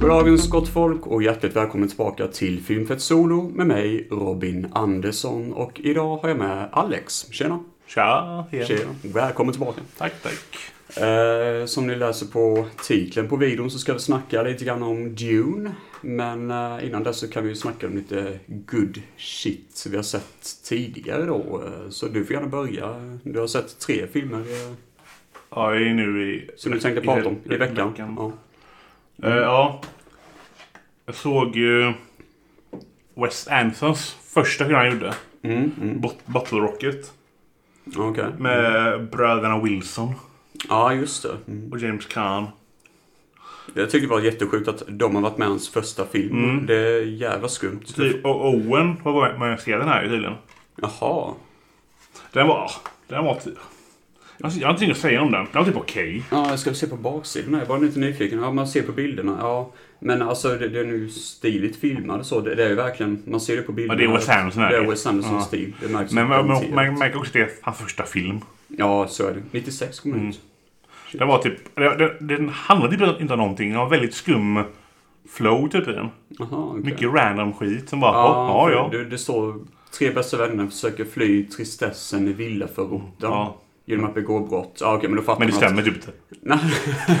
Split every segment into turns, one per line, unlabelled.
Goddagens gott folk och hjärtligt välkommen tillbaka till Filmfett Solo med mig Robin Andersson och idag har jag med Alex. Tjena!
Tja! igen.
Tjena! Välkommen tillbaka!
Tack, tack.
Eh, som ni läser på titeln på videon så ska vi snacka lite grann om Dune. Men eh, innan dess så kan vi ju snacka om lite good shit vi har sett tidigare då. Eh, så du får gärna börja. Du har sett tre filmer eh,
Ja, jag är nu i...
som du tänkte
i
prata
ve-
om i veckan. Ja.
Eh, ja. Jag såg ju West Anthems första film han gjorde.
Mm, mm.
Bot- Bottle Rocket.
Okej. Mm.
Med bröderna Wilson
Ja, just det. Mm.
och James Caan.
Jag tycker det var jättesjukt att de har varit med i hans första film.
Mm.
Det är jävla skumt.
Typ, och Owen var med och skrev den här ju tydligen.
Jaha.
Den var... Den var typ... Jag har ingenting att säga om den. Den var typ okej.
Ja, jag ska se på baksidan här. Jag var lite nyfiken. Ja, man ser på bilderna. Ja. Men alltså, det, det är nu stiligt filmad så. Det, det är ju verkligen... Man ser det på bilderna.
det är Wes Anderson här.
Det är Wes Andersons
Ja.
stil. Det märks
Men man, man,
garanterat.
man märker också att det är hans första film.
Ja, så är det. 96 kom den
Mm.
ut.
Den var typ... Den, den, den handlade typ inte om någonting. Den var väldigt skum flow typ i den.
Jaha, okej.
Mycket random skit som bara,
Ja,
ja, ja,
för
ja.
Det, det står tre bästa vänner försöker fly tristessen i villaförorten.
ja.
Genom att begå brott. Ja, okej, men då fattar
Men det
man att-
stämmer typ inte.
Nej.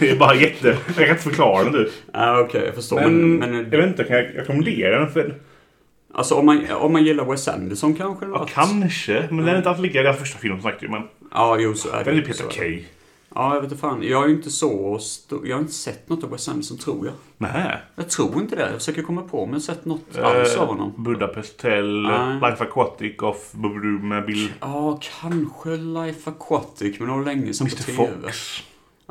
det är bara jätte... Jag kan inte förklara den typ.
Ja, okej, jag förstår.
Men,
men, men
jag vet inte, kan jag rekommendera den? För,
Alltså om man, om man gillar Wes Anderson kanske? eller
ja,
något?
kanske. Men den är inte alls lika deras första film som sagt ju, Men
Ja, jo så är det.
den är typ helt
Så är det.
okej.
Ja, jag vet inte fan. Jag är ju inte så stor. Jag har inte sett något av Wes Anderson, tror jag.
Nej.
Jag tror inte det. Jag försöker komma på men jag har sett något
Eh,
alls av honom.
Budapest Hotel,
Nej.
Life Aquatic of Buburu med Bill...
Ja, kanske Life Aquatic, men det var länge sedan på
Mr
TV.
Fox. Mm.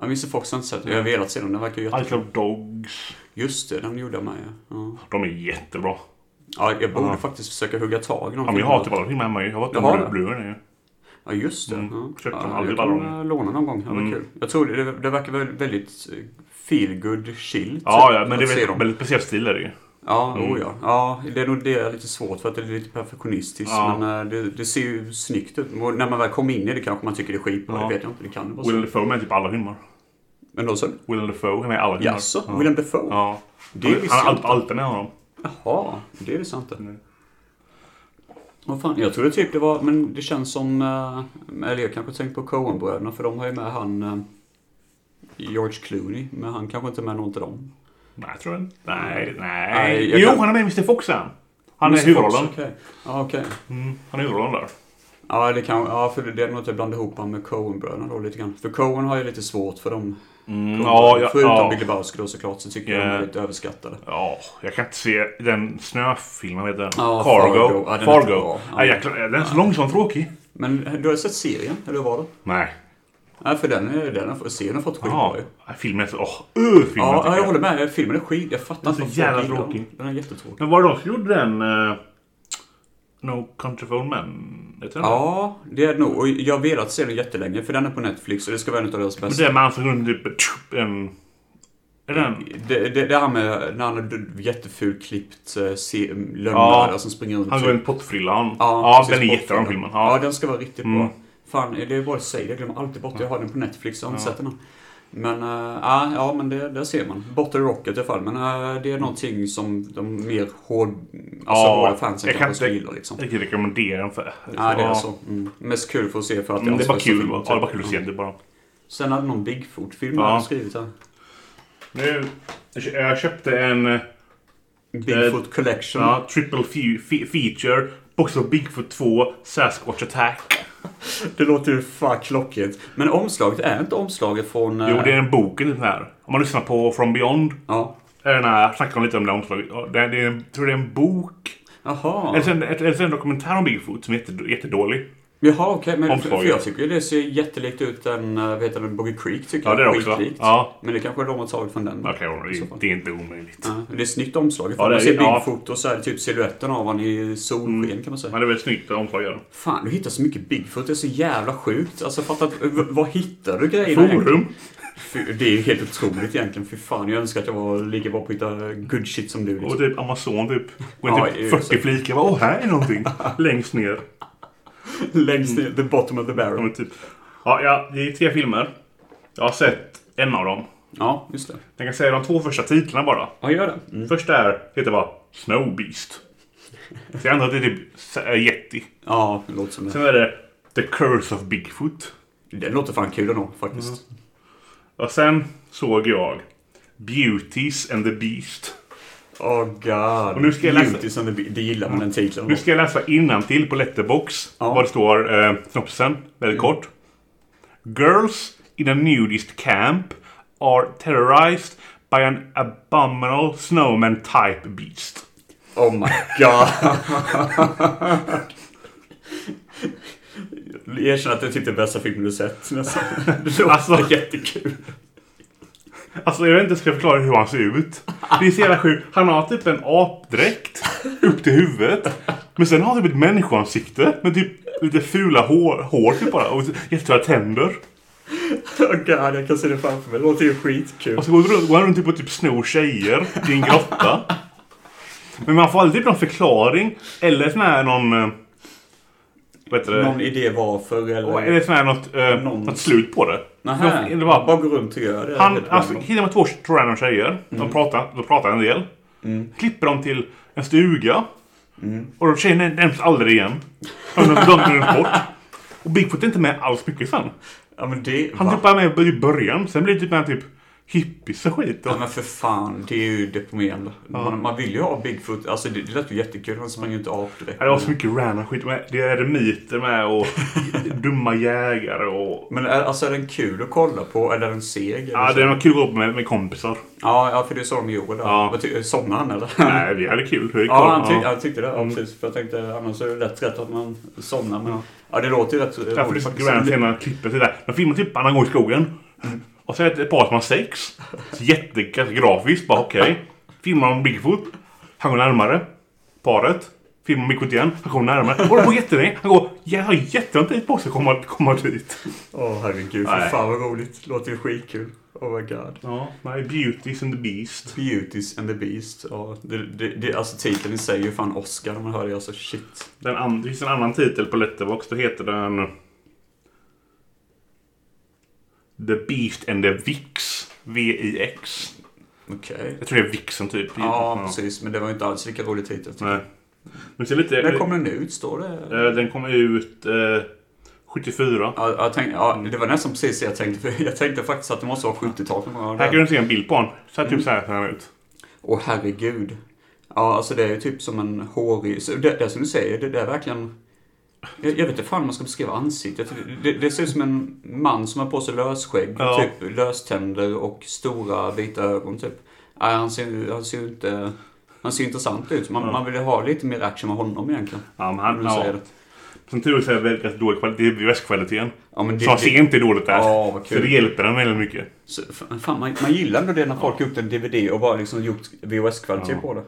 Ja, Mr Fox har jag inte sett. Jag har velat se den. Den verkar ju jätte...
Isle of Dogs.
Just det, den gjorde jag med. Ja,
De är jättebra.
ja jag borde
Ja.
faktiskt försöka hugga tag i någon
Ja, men
film.
jag har typ alla filmer hemma ju. Jag har
Jaha,
varit på
ja.
Blu-ray nu.
Ja, just det.
Mm.
Ja.
Köpte
ja,
de aldrig
jag kan
ballong.
eh, låna någon gång. Det var
Mm.
kul. Jag tror det, det verkar väl väldigt eh, feel good chill.
Ja,
typ,
ja, men det
att se
är
dem.
väldigt speciell stil är det ju.
Ja,
Mm.
oh ja. ja, det är nog det jag är lite svårt för att det är lite perfektionistiskt.
Ja.
Men eh, det, det ser ju snyggt ut. Och när man väl kommer in i det kanske man tycker det är skitbra.
Ja.
Det vet jag inte. Det kan vara så.
Willem Dafoe är med i typ alla filmer.
Men då så.
Willem Dafoe är med i alla filmer.
Jaså?
Ja.
Willem Dafoe?
Ja.
Det
han
visste jag
han
inte.
alltid med honom. Mm.
Jaha, det visste jag inte.
Nej.
Vad fan, jag trodde typ det var, men det känns som, eh, eller jag kanske tänkte på Coen-bröderna för de har ju med han eh, George Clooney, men han kanske inte är med någon av dem.
Nej, jag tror jag inte. Nej, nej.
Nej, jag
jo,
kan-
han är med i Mr Fox sen. Han
Mr.
är huvudrollen.
Fox, Okej. Ja, okej.
Mm, han är huvudrollen där.
Ja, det kan, ja, för det är nog att jag blandar ihop honom med Coen-bröderna då lite grann. För Coen har ju lite svårt för dem.
Mm, ja,
Ja,
jag,
Förutom
ja, Eh.
Big Lebowski då såklart, så tycker jag
Ja.
de är lite överskattade.
ja, jag kan inte se den snöfilmen. Vad heter den?
Ja, Fargo.
Fargo.
Ja, den är inte
Fargo.
bra. Ja.
Nej, jag klarar- Den är så långsam och tråkig.
Men du har sett serien, eller hur var det?
Nej.
Nej, för den, är- den har, serien har fått skitbra
Ja,
ju.
filmen är så... Åh, uh, filmen
Ja,
tycker
jag
jag.
håller med. Filmen är skit. Jag fattar
Den är
inte
så
varför folk
jävla
gillar den.
tråkig.
Den är jättetråkig.
Men var det de som gjorde den? eh, no Country for Old Men? Heter den?
Ja, det är det nog. Och jag har velat se den jättelänge, för den är på Netflix och det ska vara en av deras
Men
bästa.
det är med han som gjorde typ... tjup, En... Är den...
Det, det, det här med när han har d- jättefult klippt eh, se- lögnare
Ja,
som springer runt.
Han
typ.
går i en pottfrilla. Han...
Ja,
Ja,
precis,
den är jättebra den
pottfrillan.
filmen.
Ja,
Ja.
den ska vara riktigt
Mm.
bra. Fan, det är bara att säga. Jag glömmer alltid bort det. Jag har den på Netflix. Jag har inte sett den än. Men, äh, ja, ja, men det, där ser man. Bottle Rocket i alla fall. Men äh, det är någonting som de mer hård, alltså,
Ja,
hårda fansen
jag kan
kanske skulle
inte-
gilla. Liksom.
Jag kan rekommendera den för...
Ja, det är så. Mm. Mest kul för att se för att
Mm, det
hans
är bara
bästa
kul.
film,
va?
typ.
Ja, det är bara kul att se
Mm.
det bara.
Sen hade någon Bigfoot-film
Ja. Eh,
ja. skrivit här.
Nu, jag köpte en eh,
Bigfoot Collection.
ja, triple fe- fe- feature. Box of Bigfoot 2, Sasquatch Attack.
Det låter ju fan klockrent. Men omslaget, är inte omslaget från... eh,
Jo, det är en boken den här. Om man lyssnar på From Beyond.
Ja.
Är den här, snackar de lite om det omslaget. Ja, Det är, det är, en- jag tror det är en bok.
Jaha.
Eller så är det- Eller så är det en dokumentär om Bigfoot som är jätte, jättedålig.
Jaha, okej. men för,
Omslaget.
för jag tycker ju det ser jättelikt ut den, eh, vad heter den, Boggy Creek tycker
Ja, det är
jag.
det också.
Skitlikt.
Ja.
Men det kanske de har tagit från den.
Okej,
I så fall.
det är inte omöjligt.
Ja, men det är snyggt omslag.
Ja,
Ja,
det är
man ser
det. Ja. Mm.
Bigfoot och så är det typ siluetten av honom i solsken kan man säga.
Men det är väldigt snyggt omslag gör
Fan, du hittar så mycket Bigfoot. Det är så jävla sjukt. Alltså fatta, att- v- vad hittar du
det.
grejerna egentligen?
Forum.
Fy- Det är ju helt otroligt egentligen. Fy fan, jag önskar att jag var lika bra på att hitta good shit som du.
Och
Liksom.
typ Amazon typ. Går
Ja,
in
det är ju
typ 40
så.
flikar. Bara, Åh, här är någonting. Längst ner.
liksom. Längst ner, the bottom of the
Ja,
barrel.
men typ. ja, ja, det är tre filmer. Jag har sett en av dem.
Ja, just det.
Jag kan säga de två första titlarna bara.
Ja, gör det. Mm.
Första är, heter bara Snow Beast. Sen andra heter typ S- äh, Yeti.
Ja, det låter som det.
Sen är det The Curse of Bigfoot.
Det låter fan kul ändå faktiskt.
Och sen såg jag Beauties and the Beast.
Oh god.
Och nu ska jag läsa- Mm.
Beauty and the Be- Det gillar man den titeln.
Nu ska jag läsa innantill på Letterbox
Ja.
vad det står, eh, synopsisen, väldigt kort. Girls in a nudist camp are terrorized by an abominable snowman type beast.
Oh my god. Erkänn att det är typ den bästa filmen du sett nästan. Det låter
Alltså-
jättekul.
Alltså jag vet inte ska jag förklara hur han ser ut. Det är så jävla sjukt. Han har typ en apdräkt upp till huvudet. Men sen har han typ ett människoansikte med typ lite fula hår, hår typ bara och jättestora tänder.
Oh god, jag kan se det framför mig. Det låter ju skitkul.
Och så går han runt- går han runt typ och typ snor tjejer i en grotta. Men man får aldrig typ någon förklaring eller sån här någon... eh, Vad heter det?
Någon idé varför eller?
Eller sån här något, eh,
Någon-
något slut på det.
Nähä.
Det var-
bara gå runt och gör det.
Han,
Helt
alltså,
random.
hittar man två t- random tjejer.
Mm.
De, pratar, de pratar en del. Klipper dem till en stuga.
Mm.
Och de tjejerna nämns aldrig igen. De de- de glöms bort. Och Bigfoot är inte med alls mycket sen.
Ja men det...
Han
va?
typ är med i början. Sen blir det typ med typ hippies och skit. Och,
Ja men för fan, det är ju deprimerande. Man, man vill ju ha Bigfoot. Alltså det, det lät ju jättekul. Han sprang ju inte av direkt.
Ja, Det var så mycket random skit. Med. Det är eremiter med och dumma jägare och...
Men är, alltså är den kul att kolla på eller är den seg? eller
Ja,
så?
det var kul att gå upp med, med kompisar.
Ja, ja, för det är så de gjorde.
Ja.
Ja. Somnade han eller?
Nej, vi hade kul. Vi
Ja, han, tyck, han tyckte det. Ja, precis. För jag tänkte annars är det lätt rätt att man somnar. Men, ja. det låter ju rätt
Därför
roligt
det
faktiskt.
är den senare klippet. till det där. De filmar typ när han går i skogen. Och så är det ett par som har sex. Så jättegrafiskt. Bara okej. Filmar om Bigfoot. Han går närmare. Paret. Filmar om Bigfoot igen. Han kommer närmare. Och det går jättelänge. Han går jag har jättelång tid på sig att komma, komma dit.
Åh herregud, för
Nej.
fan vad roligt. Låter ju skitkul. Oh my god.
Ja, nej. Beauties and the Beast.
Beauties and the Beast. Ja, det, det, det, alltså titeln i sig är ju fan Oscar när man hör det. Alltså shit.
Den an- det finns en annan titel på Letterbox. Då heter den... The Beast and the Vix. V-I-X.
Okej.
Jag tror det är Vixen typ.
Ja, precis. Men det var ju inte alls lika rolig titel.
Nej. Men ser lite...
När kom den ut? Står det?
eh, den kom ut eh, 74.
Ja, jag tänkte, ja, det var nästan precis det jag tänkte. För jag tänkte faktiskt att det måste vara 70-tal. när man hör det.
Här kan du se en bild på honom. Så här,
Mm.
typ så här ser han ut.
Åh herregud. Ja, alltså det är ju typ som en hårig... så Det, det som du säger, det, det är verkligen... Jag, jag vet inte fan hur man ska beskriva ansiktet. Det, det ser ut som en man som har på sig lösskägg,
Ja.
typ löständer och stora vita ögon typ. Nej, han ser ju han ser ju inte... Han ser ju intressant ut. Man, man vill ju ha lite mer action med honom egentligen.
Ja, men
om
han,
du säger
ja.
det.
Som tur är så är det väldigt rätt dålig kvalitet. Det är västkvaliteten.
Ja, men det,
Så han ser
det,
inte dåligt där.
Ja, vad
så
kul.
det hjälper den väldigt mycket.
så, fan, man, man gillar ändå det när folk har gjort en DVD och bara liksom gjort VHS-kvalitet
Ja.
på det.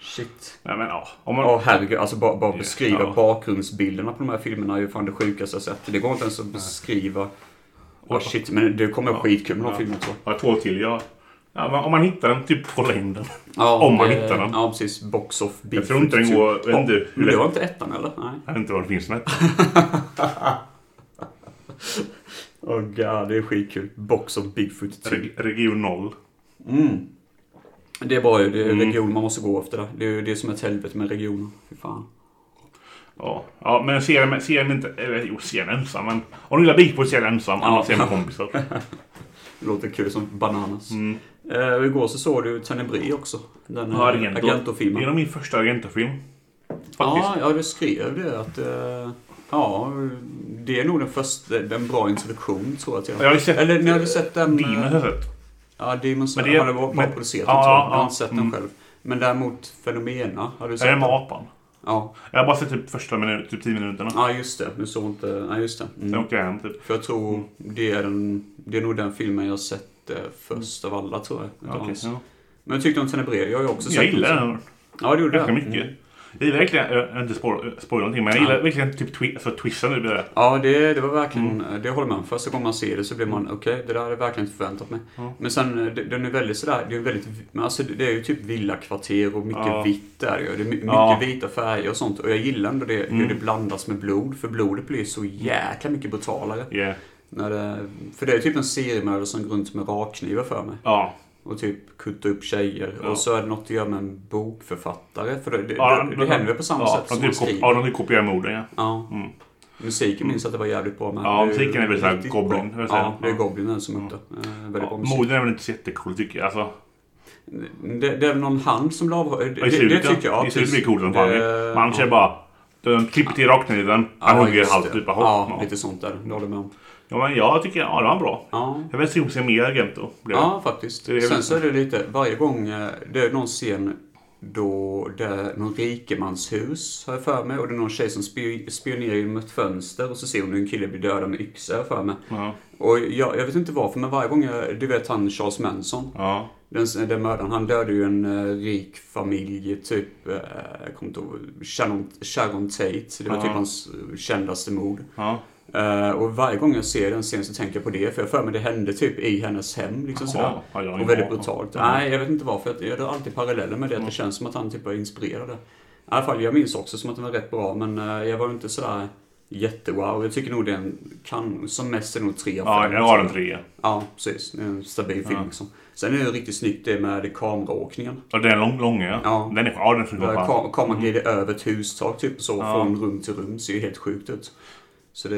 Shit.
Nej, men ja. Om man,
Ja, herregud. Alltså bara, bara beskriva
Ja.
bakgrundsbilderna på de här filmerna är ju fan det sjukaste jag sett. Det går inte ens att beskriva. Åh shit, men det kommer skitkul med de
Ja.
filmerna också.
Ja, två till. Ja. Ja, men om man hittar den, typ hålla in den.
Ja,
Om man
det-
hittar den.
Ja, precis. Box off Bigfoot. typ.
tror inte den går- jag vet inte hur
Men
lätt-
det var inte ettan eller? Nej.
Jag vet inte vad det finns med.
Åh god, det är skitkul. Box of Bigfoot 2.
Reg- Region 0.
Mm. Det är bra ju. Det är
Mm.
region man måste gå efter. Där. Det är ju det är som ett helvete med regioner. Fy fan.
Ja, ja men se den, se den inte... Eller jo, se den ensam. Men om du gillar Bigfoot, se den ensam. Annars se den med kompisar.
Det låter kul som bananas.
Mm.
Eh, igår så såg du Tenebré också. Den
Ja,
eh,
Argento. Det
Argento-filmen.
är nog min första Argento-film. Faktiskt.
Ja, ja, du skrev det att... eh, ja, det är nog den första, den bra introduktion tror jag till den.
Jag har ju sett
Eller när har du sett den? eh,
Demon har jag sett.
Ja, Demons.
Mm. Men
Men
det-
det, har det varit
men-
men, producerat?
ja,
tror jag.
ja,
jag har
ja,
inte sett
mm.
den själv. Men däremot Fenomena, har du
Är det
sett
med
den?
apan?
Ja.
Jag har bara sett typ första minuten, typ 10 minuterna.
ja, just det. Du såg inte... Ja, just det.
Sen
Mm.
åkte jag hem typ.
För jag tror det är, den, det är nog den filmen jag har sett eh, först av alla tror jag. Utav
Okej,
hans.
ja.
Men jag tyckte om Tenebre. Jag har ju också sett
Jag gillar
den.
den
Ja, det gjorde
ganska
jag. Mm.
mycket. Jag gillar verkligen, jag jag inte spoil- spoila någonting, men jag gillar verkligen typ twi- alltså, twisten nu blir det.
Ja, det, det var verkligen,
Mm.
eh, det håller man Första gången man ser det så blir man, okej, det där är verkligen inte förväntat mig.
Ja.
Men sen, eh, det- den är väldigt sådär, det är väldigt, men alltså det det är ju typ villakvarter och mycket
Ja.
vitt där ju. Det är my- mycket
Ja. Mm.
vita färger och sånt. Och jag gillar ändå det, hur det blandas med blod, för blodet blir så jäkla mycket brutalare.
Yeah.
När det, för det är typ en seriemördare som går runt med rakknivar för mig.
Ja.
Och typ kutta upp tjejer.
Ja.
Och så är det något att göra med en bokförfattare. För det, det,
Ja,
det, det händer väl på samma
ja,
sätt
de
som
typ
man
kop-
skriver.
Ja, de typ kopierar morden ja.
Ja.
Mm.
Musiken minns jag att det var jävligt bra med.
Ja,
Det är ju
musiken är väl såhär
riktigt bra.
Goblin, jag vill säga.
Ja, det är
Ja.
Goblinen som är uppe. Eh, väldigt
ja
bra musik.
morden är väl inte så jättecool tycker jag. Alltså,
Det, det är väl någon hand som blev avhuggen? Det,
I
det, det
slutet
tycker
ja.
jag.
I slutet blir det coolt som fan ju.
Det-
Men annars är det bara... De klipper till rakkniven. Han hugger
just
halvt
det.
typ.
Ja,
Ja.
lite sånt där. Det håller jag med om.
ja, men jag tycker... Ja, det var bra.
Ja.
Jag vill se mer Argento. blev det.
Ja, faktiskt.
Det är-
Sen så är det lite, varje gång eh, det är någon scen då det är någon rikemanshus, har jag för mig. Och det är någon tjej som spio- spionerar genom ett fönster och så ser hon hur en kille blir dödad med yxa, har jag för mig.
Ja.
Och jag, jag vet inte varför, men varje gång jag, du vet han Charles Manson,
Ja.
den, den mördaren, han dödade ju en eh, rik familj, typ, eh, jag kommer inte ihåg, Sharon, Sharon Tate. Det var
Ja.
typ hans eh, kändaste mord.
Ja.
Eh, och varje gång jag ser den scenen så tänker jag på det, för jag har för mig det hände typ i hennes hem. Liksom sådär.
Ja, ja, ja,
Och väldigt
ja.
brutalt.
Ja. Mm.
Nej, jag vet inte varför. Jag- Jag drar alltid paralleller med det. Att det känns som att han typ var inspirerad. I alla fall, jag minns också som att den var rätt bra, men eh, jag var inte sådär jättewow. Jag tycker nog den kan, som mest är nog tre av
Ja,
fem.
jag har en trea.
Ja, precis. Det är En stabil film liksom. Sen är det ju riktigt snyggt det med kameraåkningen.
Ja, den är lång, lång ja.
Ja.
Den är, ja, den är snygg.
Där
som fan.
kam- kameran glider över ett hustak typ så, från rum till rum. Ser ju helt sjukt ut. Så det...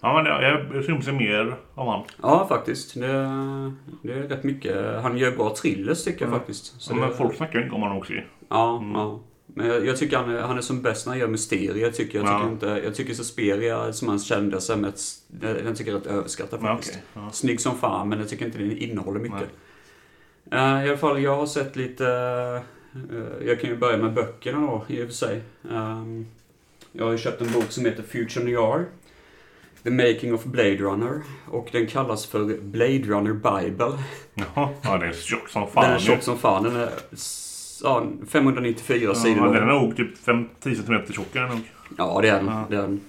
Ja, men jag, jag vill se mer av han.
Ja, faktiskt. Det, det är rätt mycket. Han gör bra thrillers tycker jag faktiskt. Så
Mm. Ja, men
det,
folk Mm. snackar ju inte om honom också ju.
ja, ja. Men jag, jag tycker han, är- han är som bäst när han gör mysterier. Tycker jag. Jag,
Ja.
tycker inte, jag tycker Suspiria, som hans kändaste, med ett, den den tycker jag är rätt överskattad
Ja,
faktiskt.
okej. Ja.
Snygg som fan, men jag tycker inte den innehåller mycket.
Nej.
Eh, I alla fall, jag har sett lite... eh, jag kan ju börja med böckerna då, i och för sig. Ehm, jag har ju köpt en bok som heter Future Noir. The Making of Blade Runner. Och den kallas för Blade Runner Bible.
Jaha. Ja, den är tjock som fan.
den är
ju.
tjock som fan. Den är s- ja, 594 sidor
Ja,
lång.
den är nog typ 5-10 cm tjock. är den nog.
Ja, det är den.
Ja.
Det är den.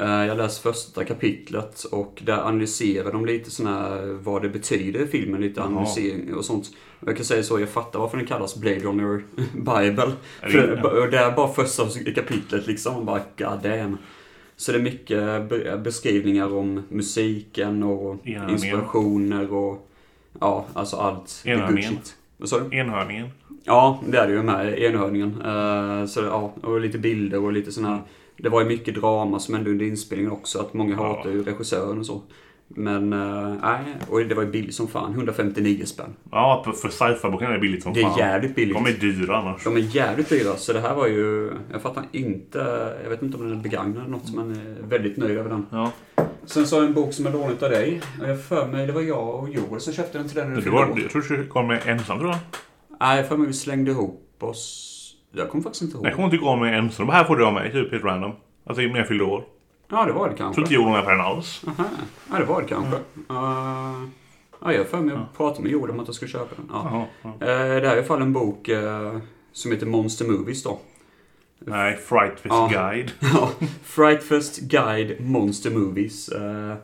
Eh, Jag läste första kapitlet och där analyserar de lite sån här, vad det betyder i filmen, lite
Jaha.
analysering och sånt. Och Jag kan säga så, jag fattar varför den kallas Blade Runner Bible.
Är
För,
det-
och det är bara första kapitlet liksom, man bara God damn. Så det är mycket be- beskrivningar om musiken och
Enarmén.
inspirationer och ja, alltså allt. the good
Enarmén.
shit. Vad sa du?
Enhörningen.
Ja, det är det ju med enhörningen. Eh, så, ja, och lite bilder och lite sådana här. Det var ju mycket drama som hände under inspelningen också. Att många
Ja.
hatar ju regissören och så. Men eh, nej, och det var ju billigt som fan. 159 spänn.
Ja, för, för sci-fi-boken är det billigt som
Det är
fan.
jävligt billigt.
De är dyra annars.
De är jävligt dyra, så det här var ju... Jag fattar inte... Jag vet inte om den är begagnad eller något, men jag är väldigt nöjd över den.
Ja.
Sen så har jag en bok som jag lånat av dig. Och jag för mig, det var jag och Joel som köpte den till den när du
Du
fyllde
var,
år.
jag tror du kom med ensam tror jag.
Nej, jag för mig vi slängde ihop oss. Jag kommer faktiskt inte ihåg.
Jag kommer inte gå med ensam. Det här får du av mig, typ helt random. Alltså när jag fyllde år.
Ja, det var det
Jag
kanske.
tror inte jag gjorde någon affär alls.
Aha. Ja, det var det kanske.
Mm.
Eh, ja, jag har för mig att prata med Joel om att jag skulle köpa den. Ja.
Jaha. ja.
Eh, det här är i alla fall en bok eh, som heter Monster Movies då.
Nej, Frightfest
Ja.
Guide.
Ja, Frightfest Guide Monster Movies. Eh,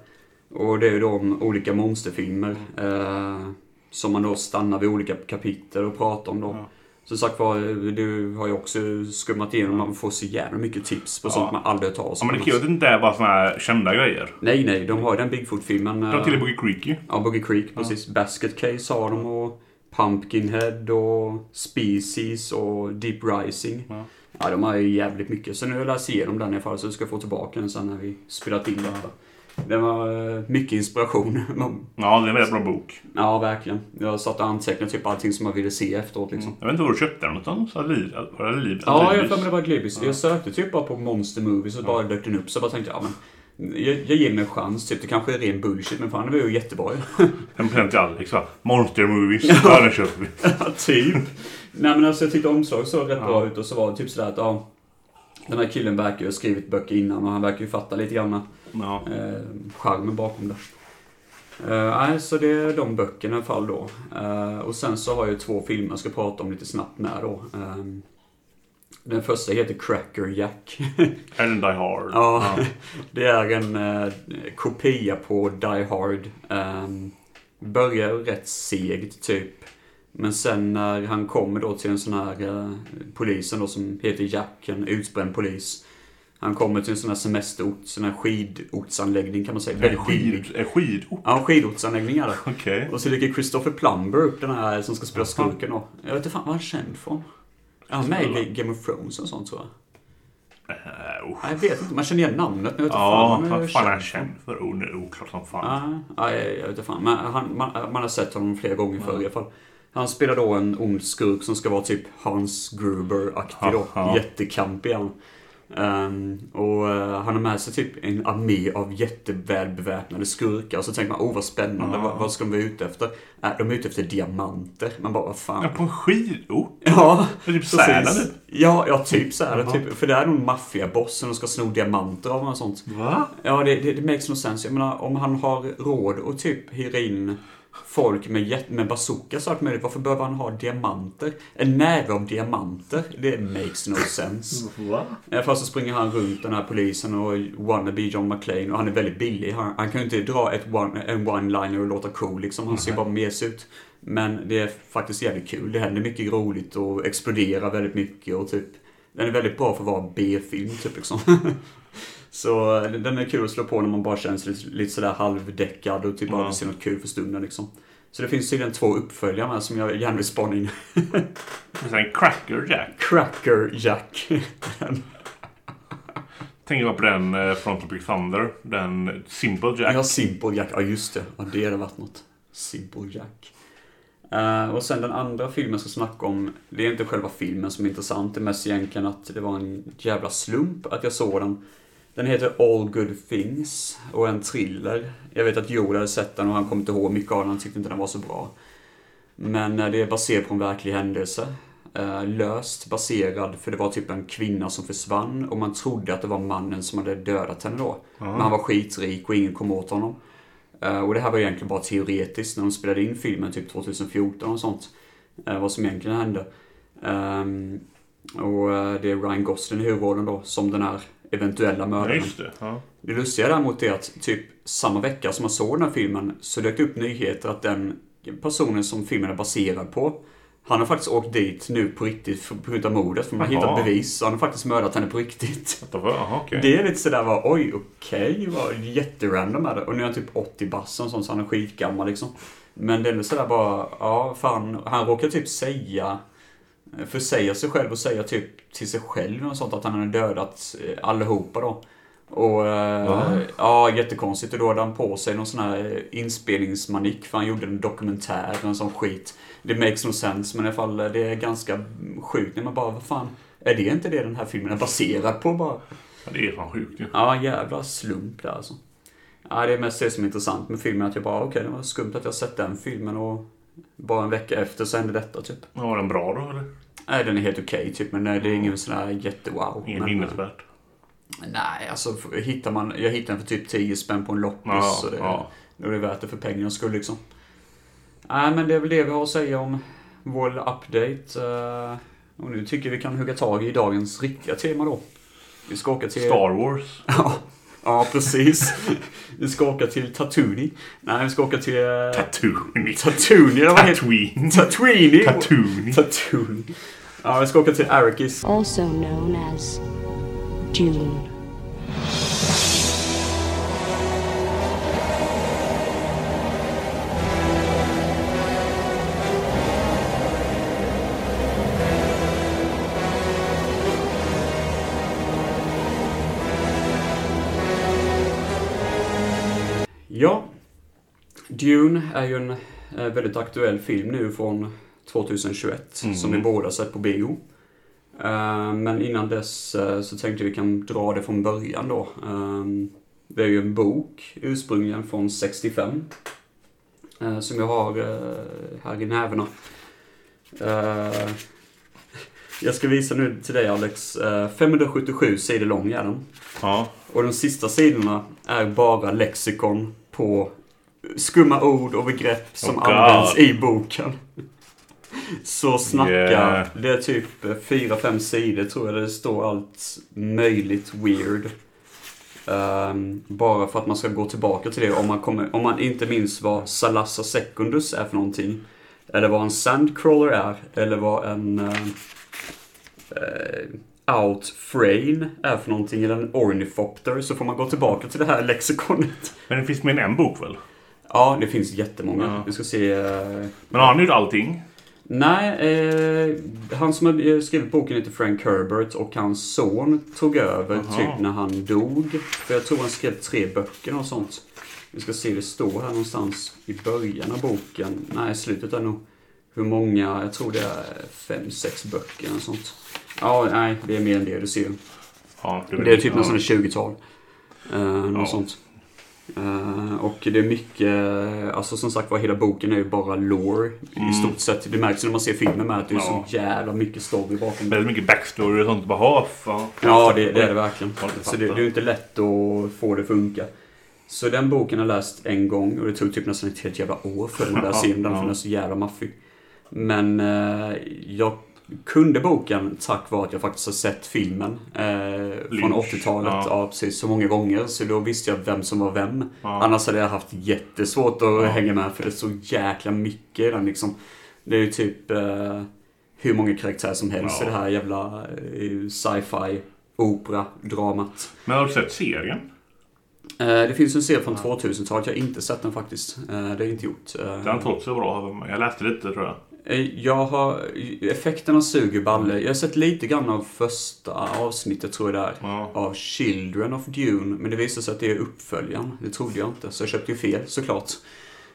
och det är ju då om olika monsterfilmer eh, som man då stannar vid olika kapitel och pratar om då.
Ja.
Som sagt var, du har ju också skummat igenom, man får så jävla mycket tips på
Ja.
sånt man aldrig har talas
Ja, men det är kul att det inte är bara såna här kända grejer.
Nej, nej, de har ju den Bigfoot-filmen.
De har
eh,
till och med Creek ju.
Ja, Boogie Creek, precis. Basket Case har de och Pumpkinhead och Species och Deep Rising. Ja,
Ja.
de har ju jävligt mycket. Så nu har jag läst igenom den i alla fall så du ska få tillbaka den sen när vi spelat in detta. Det var eh, mycket inspiration. Man-
Ja, det är en väldigt bra bok.
ja, verkligen. Jag satt och antecknade typ allting som jag ville se efteråt liksom.
Jag vet inte var du köpte den någonstans? Alibi? Var det Alibi?
Ja, jag har
Alibis?
för mig det var Glibis. Jag sökte typ bara på Monster Movies och bara dök den upp. Så jag bara tänkte, ja men. Jag, jag ger mig en chans. Typ. Det kanske är ren bullshit, men fan det var ju jättebra ju.
5% till Alex va? Monster Movies. Ja, den köper vi.
Ja, typ. Nej men alltså jag tyckte omslaget såg rätt bra ut och så var det typ sådär att ja, den här killen verkar ju ha skrivit böcker innan och han verkar ju fatta lite grann
Ja.
eh, charmen bakom det. Eh, nej, så det är de böckerna i alla fall då. Eh, och sen så har jag ju två filmer jag ska prata om lite snabbt med då. Eh, den första heter Cracker Jack.
Är den Die Hard?
Ja, det är en eh, kopia på Die Hard. Um, börjar rätt segt typ. Men sen när han kommer då till en sån här eh, polisen då som heter Jack, en utbränd polis. Han kommer till en sån här semesterort, sån här skidortsanläggning kan man säga.
En
Väldigt billig.
skid... En skidort?
Ja, skidortsanläggning är det.
Okej.
Och så dyker Christopher Plumber upp, den här som ska spela skurken då. Jag vet inte fan vad han är känd från. Är han med i Game of Thrones och sånt tror jag?
Äh, usch.
Nej, jag vet inte. Man känner igen namnet men jag vet inte
Ja,
fan vad
vad fan är han känd för? Oh, nej, Oklart som fan.
Nej, nej, jag vet inte fan. Men han, man, man har sett honom flera gånger förr i alla fall. Han spelar då en ond skurk som ska vara typ Hans Gruber-aktig då.
Aha.
Jättekampig han. Ehm, och eh, han har med sig typ en armé av jättevälbeväpnade skurkar. Så tänker man, oh vad spännande, vad, vad ska de vara ute efter? Äh, de är ute efter diamanter. Man bara, vad fan.
Ja, på en skidort?
Ja,
Det är typ
precis.
Sälen typ.
Ja, ja, typ så är det. Typ. För det är nog maffiabossen och ska sno diamanter av och sånt.
Va?
Ja, det, det, det makes no sense. Jag menar, om han har råd att typ hyra in folk med, jätt- med bazookas och allt möjligt, varför behöver han ha diamanter? En näve av diamanter? Det makes no sense.
Va?
Eh, Fast så springer han runt den här polisen och wannabe John McClane och han är väldigt billig. Han, han kan ju inte dra ett one, en one-liner och låta cool liksom. Han ser bara mes ut. Men det är faktiskt jävligt kul. Det händer mycket roligt och exploderar väldigt mycket och typ. Den är väldigt bra för att vara en B-film typ liksom. så eh, den är kul att slå på när man bara känns lite, lite sådär halvdäckad och typ bara
Ja.
vill se något kul för stunden liksom. Så det finns tydligen två uppföljare med som jag gärna vill spana in.
Och sen Cracker Jack.
Cracker Jack.
Tänker bara på den eh, från Tropic Thunder. Den eh, Simple
Ja,
Jack.
Simple Jack. Ja, just det. Ja, det hade varit något. Simple Jack. Eh, och sen den andra filmen jag ska snacka om, det är inte själva filmen som är intressant, det är mest egentligen att det var en jävla slump att jag såg den. Den heter All Good Things och är en thriller. Jag vet att Joel hade sett den och han kom inte ihåg mycket av den, han tyckte inte den var så bra. Men eh, det är baserat på en verklig händelse. Eh, löst baserad, för det var typ en kvinna som försvann och man trodde att det var mannen som hade dödat henne då. Men han var skitrik och ingen kom åt honom. Eh, och det här var egentligen bara teoretiskt när de spelade in filmen typ 2014 och sånt. Eh, vad som egentligen hände. Ehm, och eh, det är Ryan Gosling i huvudrollen då, som den här eventuella
Ja,
mördaren.
just det. Ja.
Det lustiga däremot är att typ samma vecka som man såg den här filmen så dök det upp nyheter att den personen som filmen är baserad på han har faktiskt åkt dit nu på riktigt för- på grund av mordet, för man har
Jaha.
hittat bevis. Så han har faktiskt mördat henne på riktigt.
Jaha, okej.
Det är lite sådär va, oj, okej, okay, jätterandom är det. Och nu är han typ 80 bass och sånt, så han är skitgammal liksom. Men det är ändå sådär bara, ja, fan, han råkar typ säga, försäga sig själv och säga typ till sig själv och sånt att han har dödat eh, allihopa då. Och,
Va?
eh, ja, jättekonstigt. Och då hade han på sig någon sån här inspelningsmanik, för han gjorde en dokumentär och en sån skit. Det makes no sense, men i alla fall, eh, det är ganska sjukt när man bara, vad fan, är det inte det den här filmen är baserad på bara?
Ja, det är fan sjukt ju.
Ja, jävla slump där alltså. Ja, det är mest det som är intressant med filmen, att jag bara, okej, det var skumt att jag sett den filmen och bara en vecka efter så hände detta typ.
Ja, var den bra då eller?
Nej, den är helt okej typ, men nej, det är ingen sån här jättewow.
Ingen
Men-
minnesvärt.
Nej, alltså för- hittar man, jag hittade den för typ 10 spänn på en loppis.
Ja,
så det,
ja.
Då är det värt det för pengarnas skull liksom. Nej, men det är väl det vi har att säga om vår lilla update. eh, Och nu tycker jag vi kan hugga tag i dagens riktiga tema då. Vi ska åka till...
Star Wars.
Ja, ja precis. Vi ska åka till Tatooine. Nej, vi ska åka till... eh,
Tatooine.
Tatooine, eller vad heter
Tatooine.
Tatooine!
Tatooine.
Tatooine. Ja, vi ska åka till Arrakis.
also known as Dune.
Ja. Dune är ju en eh, väldigt aktuell film nu från 2021 som vi båda sett på bio. Eh, men innan dess eh, så tänkte vi kan dra det från början då. Eh, det är ju en bok ursprungligen från 65 eh, som jag har eh, här i näverna. Eh, jag ska visa nu till dig Alex. Eh, 577 sidor lång är den.
Ja.
Och de sista sidorna är bara lexikon på skumma ord och begrepp som
Oh, God.
används i boken. Så snacka.
Yeah.
Det är typ 4-5 sidor tror jag där det står allt möjligt weird. Ehm, bara för att man ska gå tillbaka till det om man, kommer, om man inte minns vad Salassa Secundus är för någonting. Eller vad en sandcrawler är. Eller vad en... eh, eh, out frame är för någonting eller en ornithopter så får man gå tillbaka till det här lexikonet.
Men det finns mer än en bok väl?
Ja, det finns jättemånga.
Ja.
Vi ska se... eh,
Men har han gjort allting?
Nej, eh, han som har eh, skrivit boken heter Frank Herbert och hans son tog över
Aha.
typ när han dog. För jag tror han skrev tre böcker och sånt. Vi ska se, det står här någonstans i början av boken. Nej, slutet är nog hur många, jag tror det är fem, sex böcker och sånt. Ja, nej, det är mer än det, du ser ju.
Ja,
Det är typ
ja.
något sånt 20-tal. Eh, något
Ja.
sånt. Eh, och det är mycket, alltså som sagt var hela boken är ju bara lore i stort sett. Det märks ju när man ser filmen med att det är
Mm. Ja.
så jävla mycket story bakom.
Väldigt mycket backstory och sånt. Bara, ha, fan.
Ja, det, det är det verkligen.
Ja, det
Så det, det
fattar.
är ju inte lätt att få det att funka. Så den boken har jag läst en gång och det tog typ nästan ett helt jävla år för den att läsa in den för den är så jävla maffig. Men eh, jag kunde boken tack vare att jag faktiskt har sett filmen eh, från
Lynch,
80-talet.
ja.
Ja. precis. Så många gånger. Så då visste jag vem som var vem.
Ja.
Annars hade jag haft jättesvårt att hänga med för det är så jäkla mycket i den liksom. Det är ju typ eh, hur många karaktärer som helst
Ja.
i det här jävla eh, sci-fi opera-dramat.
Men har du sett serien?
Eh, det finns en serie från 2000-talet, jag har inte sett den faktiskt. Eh, det har jag inte gjort. Eh,
Den har inte hållit sig bra. har jag för mig. Jag läste lite tror jag.
Eh, Jag har... Effekterna suger balle. Jag har sett lite grann av första avsnittet tror jag det är.
Ja.
Av Children of Dune. Men det visade sig att det är uppföljaren. Det trodde jag inte. Så jag köpte ju fel såklart.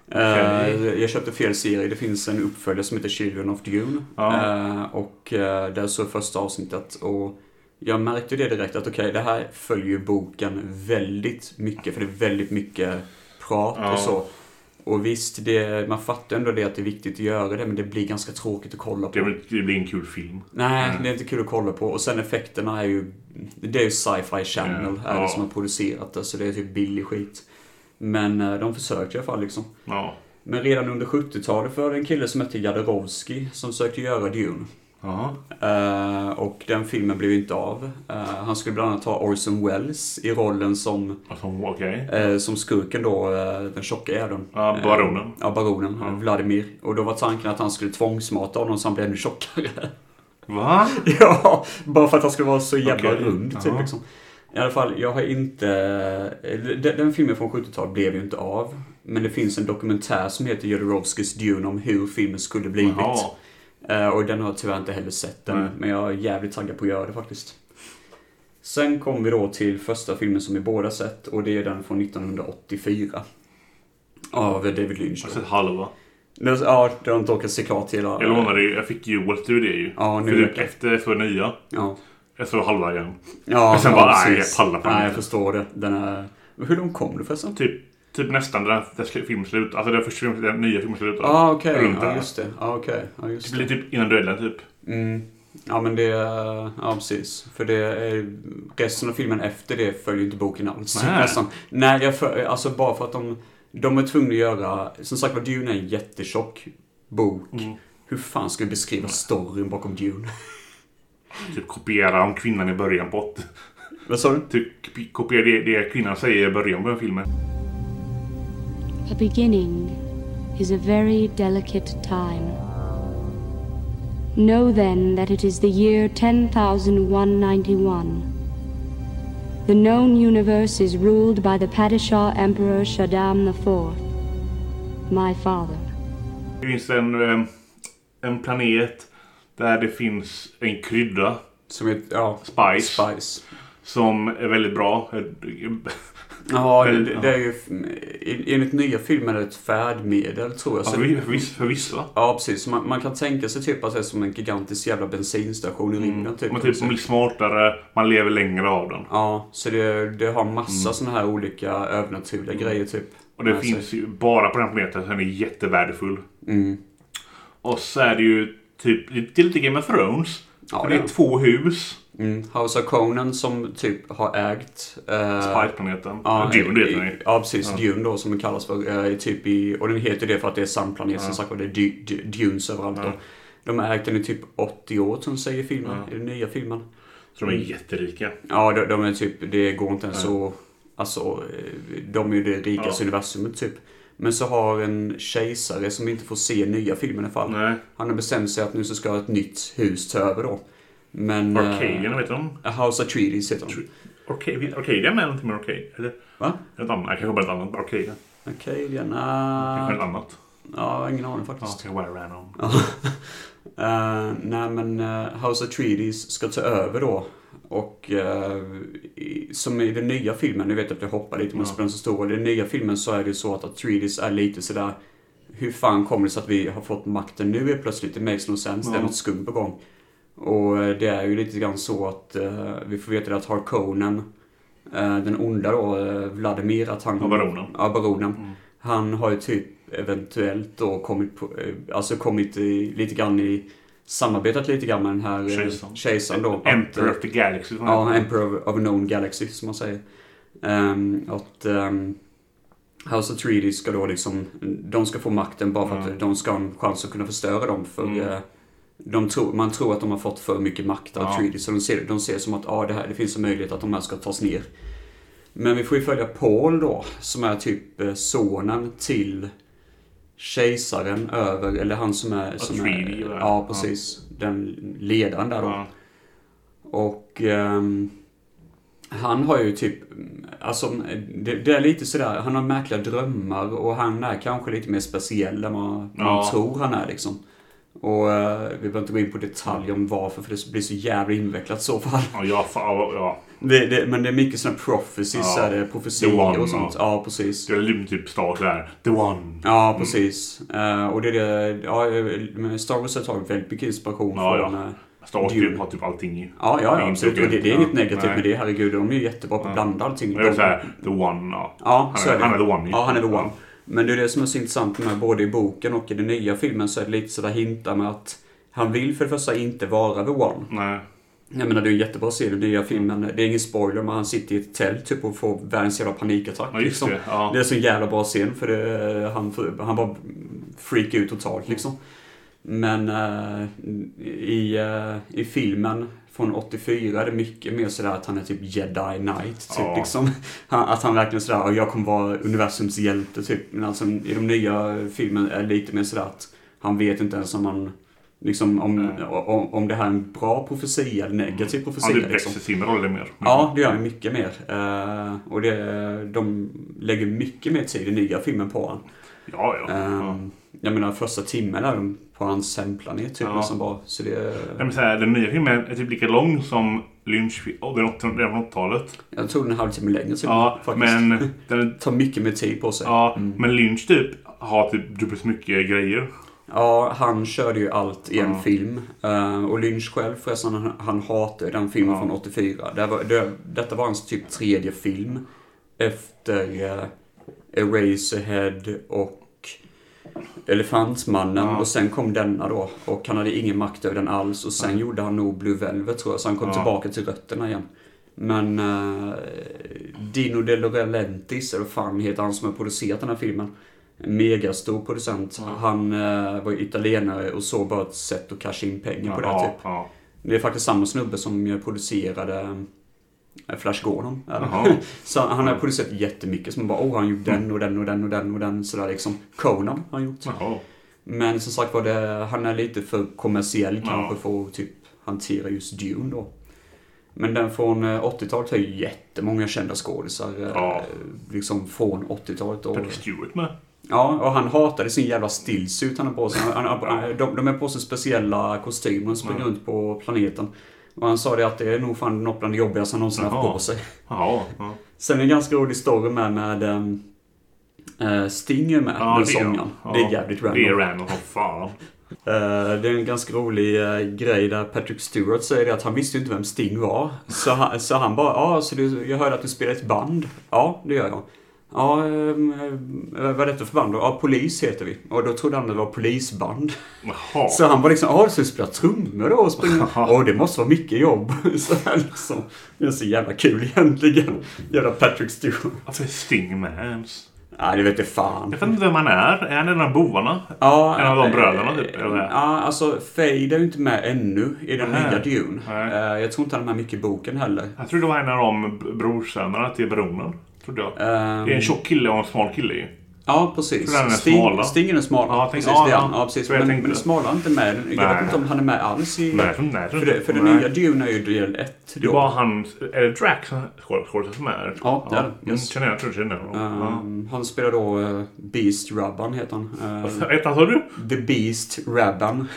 Okej.
Eh, Jag köpte fel serie. Det finns en uppföljare som heter Children of Dune.
Ja.
Eh, Och eh, där såg jag första avsnittet. Och jag märkte ju det direkt att okej, det här följer ju boken väldigt mycket. För det är väldigt mycket prat
Ja.
och så. Och visst, det, man fattar ändå det att det är viktigt att göra det, men det blir ganska tråkigt att kolla på.
Det blir- det blir en kul film.
Nej,
Mm.
det är inte kul att kolla på. Och sen effekterna är ju... Det är ju Sci-Fi Channel
Ja,
är det
ja.
som har producerat det, så det är typ billig skit. Men eh, de försökte i alla fall liksom.
Ja.
Men redan under 70-talet var det en kille som hette Jadorowski som sökte göra Dune.
Jaha.
Eh, och den filmen blev ju inte av. Eh, han skulle bland annat ha Orson Welles i rollen som,
Alltså, Okej.
eh, som skurken då, eh, den tjocka jäveln.
Ja, baronen.
Ja, baronen. Vladimir. Och då var tanken att han skulle tvångsmata honom så han blev ännu tjockare.
Va?
ja, bara för att han skulle vara så jävla
Okej.
rund. Typ,
Ja.
liksom. I alla fall, jag har inte... Den, den filmen från 70-talet blev ju inte av. Men det finns en dokumentär som heter Jodorowskys Dune om hur filmen skulle blivit.
Jaha.
Eh, och den har jag tyvärr inte heller sett den.
Nej.
Men jag är jävligt taggad på att göra det faktiskt. Sen kom vi då till första filmen som vi båda sett och det är den från 1984. Av David Lynch.
Jag
då.
har sett halva.
Det- Ja, det har inte orkat se klart hela...
Alltså- Jag lånade ju, jag fick ju Walt ur det ju.
Ja, nu
För typ
räcker det.
efter för nya.
Ja.
Jag såg halva igen.
Ja,
Och sen
ja,
bara, nej,
precis.
jag pallar fan
Nej,
inte.
jag förstår det. Den är... Hur långt kom du förresten?
Typ, typ nästan där, där sl- filmen slutar. Alltså där första filmen, den nya filmen slutar.
Ja, ah, okej.
Runt
Ja,
där.
just det. Ja, okej. Ja,
Det
just
blir
det.
typ innan duellen typ.
Mm. Ja, men det... Ja, precis. För det är... Resten av filmen efter det följer inte boken alls.
Nej.
Nästan. Nej, jag för... alltså bara för att de... De är tvungna att göra... Som sagt var, Dune är en jättetjock bok.
Mm.
Hur fan ska vi beskriva storyn bakom Dune?
Typ kopiera om kvinnan i början på åt-
Vad sa du?
Typ kopi- kopiera det, det kvinnan säger i början på den filmen.
A beginning is a very delicate time. Know then that it is the year 10191. The known universe is ruled by the Padishah Emperor Shaddam IV, my father.
Det finns en, eh, en planet där det finns en krydda,
Som ett... Ja.
spice,
Spice.
som är väldigt bra.
Ja, det,
Eller-
det det är ju... en- Enligt nya filmer är det ett färdmedel, tror jag.
Ja,
Så
för, för, vissa- Alltså, för vissa.
Ja, precis. Man, man kan tänka sig typ att det är som en gigantisk jävla bensinstation i rymden. Typ.
Man typ man blir smartare, man lever längre av den.
Ja, så det, det har
Mm.
massa såna här olika övernaturliga grejer typ.
Och det
Med sig.
finns ju bara på den här planeten, så den är jättevärdefull.
Mm.
Och så är det ju typ, det är lite Game of Thrones.
Ja,
för det är
ja.
två hus,
Mm. House of Conan som typ har ägt... eh,
Spice-planeten.
Ja,
Ja, Dune heter den
i-
ju.
ja, precis. Dune då som den kallas för. eh, typ i, och den heter det för att det är sandplanet som sagt var. Det är du, du, dunes överallt då. De har ägt den i typ 80 år som säger filmen. I den nya filmen.
Så de är jätterika.
Ja, de, de är typ, det går inte ens så Alltså, eh, de är ju det rikaste universumet typ. Men så har en kejsare som inte får se nya filmen i alla fall.
Nej.
Han har bestämt sig att nu så ska ett nytt hus ta över då. Men... eh,
Arcadian, vet du om?
A House Atreides heter de.
Arcadian, Arcadian är någonting med Arcadian. Eller?
Va?
Något annat. Jag kanske bara ett annat. Arcadian.
Arcadian?
Kanske
Uh,
ett annat.
ja, ingen aning
Ja,
faktiskt.
jag bara ran om.
Eh, nej men eh, House Atreides ska ta över då. Och eh, i, som i den nya filmen, nu vet jag att jag hoppar lite, men
Ja.
ja. så stor. I den nya filmen så är det ju så att Atreides är lite sådär, hur fan kommer det sig att vi har fått makten nu helt plötsligt? Det makes no sense, det är
Ja.
något skumt på gång. Och eh, det är ju lite grann så att eh, vi får veta det att Harkonnen, eh, den onda då, eh, Vladimir, att han...
Ja, baronen.
Ja, baronen.
Mm.
Han har ju typ eventuellt då kommit, på, eh, alltså kommit i, lite grann i samarbetat lite grann med den här eh,
Kejsaren.
kejsaren då.
Emperor
Att,
of the Galaxy. som
typ. Ja,
han heter.
Emperor of a known galaxy som man säger. Ehm, att ehm, House of Treaty ska då liksom, de ska få makten bara för att
Mm.
de ska ha en chans att kunna förstöra dem. För
Mm.
eh, de tror, man tror att de har fått för mycket makt av
Ja.
Treaty. Så de ser, de ser som att ah, det, här, det finns en möjlighet att de här ska tas ner. Men vi får ju följa Paul då, som är typ eh, sonen till kejsaren över, eller han som är... Som
Treaty,
är
va?
ja,
Ja.
precis. Den ledaren där då.
Ja.
Och ehm, han har ju typ, alltså det, det är lite sådär, han har märkliga drömmar och han är kanske lite mer speciell än vad man
Ja.
tror han är liksom. Och eh, vi behöver inte gå in på detaljer om varför, för det blir så jävla invecklat i så fall.
Ja, ja, fa- ja, ja.
Det, det, men det är mycket sådana prophecies,
Ja.
så är det profetior
The One,
och sånt. Ja, precis.
Det är lite typ Star Wars där. The One.
Ja, precis. Eh, och det är det, ja, men Star Wars har tagit väldigt mycket inspiration
Ja,
från
ja.
eh,
Star Wars
Dune.
typ har typ allting i.
Ja, ja,
Det
ja
är
absolut.
inte
Och det, det är
okej.
inget negativt
Nej.
med det. Herregud, de är ju jättebra på att
Ja.
blanda allting.
Men det är
De-
såhär, the one. Ja,
Ja,
han,
så
är,
är det.
han är the one.
Ja, han är the one. Men det är det som är så intressant med både i boken och i den nya filmen så är det lite sådär hintar med att han vill för det första inte vara the one.
Nej.
Jag menar det är en jättebra scen i den nya filmen. Det är ingen spoiler men han sitter i ett tält typ och får världens jävla panikattack.
Ja, just
liksom.
det. Ja.
Det är en sån jävla bra scen för det, han, han bara freakar ut totalt
Mm.
liksom. Men eh, i, eh, i filmen från 84 är det mycket mer sådär att han är typ jedi knight. Typ,
Ja.
liksom. han, att han verkligen sådär, "Ja, jag kommer vara universums hjälte typ. Men alltså, i de nya filmen är det lite mer sådär att han vet inte ens om han Liksom om,
Nej.
om, om det här är en bra profetia eller negativ
Han
profetia.
typ
Liksom.
växer sin roll mer.
Ja, det gör han mycket mer. Eh, och det, de lägger mycket mer tid i nya filmen på honom.
Ja, ja. ja.
Um, Jag menar första timmen är de på hans hemplanet typ
Ja.
nästan bara. Så det,
Nej, men så här, den nya filmen är typ lika lång som Lynch oh, den 80 redan från 80-talet.
jag tror den är en halvtimme längre typ,
Ja,
faktiskt. Mm.
men, den,
Tar mycket mer tid på sig. Ja.
ja, men Lynch typ har typ dubbelt så mycket grejer.
han körde ju allt i en
Ja.
film. Eh, och Lynch själv förresten, han, han hatade den filmen
Ja.
från 84. Det här var, det, detta var hans typ tredje film. Efter uh, Eraserhead och Elefantmannen
Ja.
och sen kom denna då. Och han hade ingen makt över den alls och sen gjorde han nog Blue Velvet tror jag. Så han kom
Ja.
tillbaka till rötterna igen. Men eh, Dino De Laurentiis, eller vad fan heter han som har producerat den här filmen. En megastor producent. Han eh, var ju italienare och såg bara ett sätt att casha in pengar på det här,
ja,
typ.
ja.
Det är faktiskt samma snubbe som jag producerade eh, Flash Gordon. eller?
Jaha.
Så han har producerat jättemycket som bara åh, han har gjort den och den och den och den och den sådär liksom. Conan har han gjort.
Jaha.
Men som sagt var, det, han är lite för kommersiell
Ja.
kanske för att typ hantera just Dune då. Men den från eh, 80-talet har ju jättemånga kända skådisar. eh,
Ja.
Liksom från 80-talet. Och,
Patrick Stewart med.
ja, och han hatade sin jävla stillsuit han har på sig. Han, han, han, de, de är på sig speciella kostymer och springer
Ja.
runt på planeten. Och han sa det att det är nog fan något bland det jobbigaste han någonsin haft
Jaha.
på sig.
Jaha. Ja.
Sen är det en ganska rolig story med, med ehm, eh, Sting är med,
Ja,
den
det-
sångaren.
ja.
Det är jävligt random.
Det är random som fan.
Eh, Det är en ganska rolig eh, grej där Patrick Stewart säger det att han visste ju inte vem Sting var. Så han, så han bara, ja, så du, jag hörde att du spelar i ett band. Ja, det gör jag. Ja, ehm, eh, vad är detta för band då? Ja, Polis heter vi. Och då trodde han det var polisband.
Jaha.
Så han var liksom, ja, så du spelar trummor då? Och springer. Åh, det måste vara mycket jobb. Så här liksom. Det är så jävla kul egentligen. Jävla Patrick Stewart.
Varför är Sting med ens?
Nej, det vet jag fan.
Jag vet inte vem han är. Är han en av bovarna?
Ja,
En av de
eh,
bröderna, typ, eller?
Ja, alltså Fade är ju inte med ännu i den
Nej.
nya Dune.
Nej.
Eh, jag tror inte han är med mycket i boken heller.
Jag trodde det var en av de b- brorsönerna till baronen. Trodde jag.
Ehm,
Det är en tjock kille och en smal kille ju.
Ja, precis.
Så den är
Sting,
smala.
Sting är den smala.
Ja, jag
precis,
tänkte- ja,
det är han.
ja.
Ja, precis.
Så jag
Men,
tänkte
men
det.
smala är inte med. Jag vet
Nej.
inte om han är med alls i...
Nej, nej,
För, det, för den
nej.
nya Dune är ju del 1
Det
då.
var han... Är det Drax skådespelare som är?
Ja, det är det.
Mm,
Yes.
Känner jag, jag tror jag känner honom. Ja.
Ehm, Han spelar då eh, Beast Rabban, heter han. Ehm,
Vad hette han sa du?
The Beast Rabban.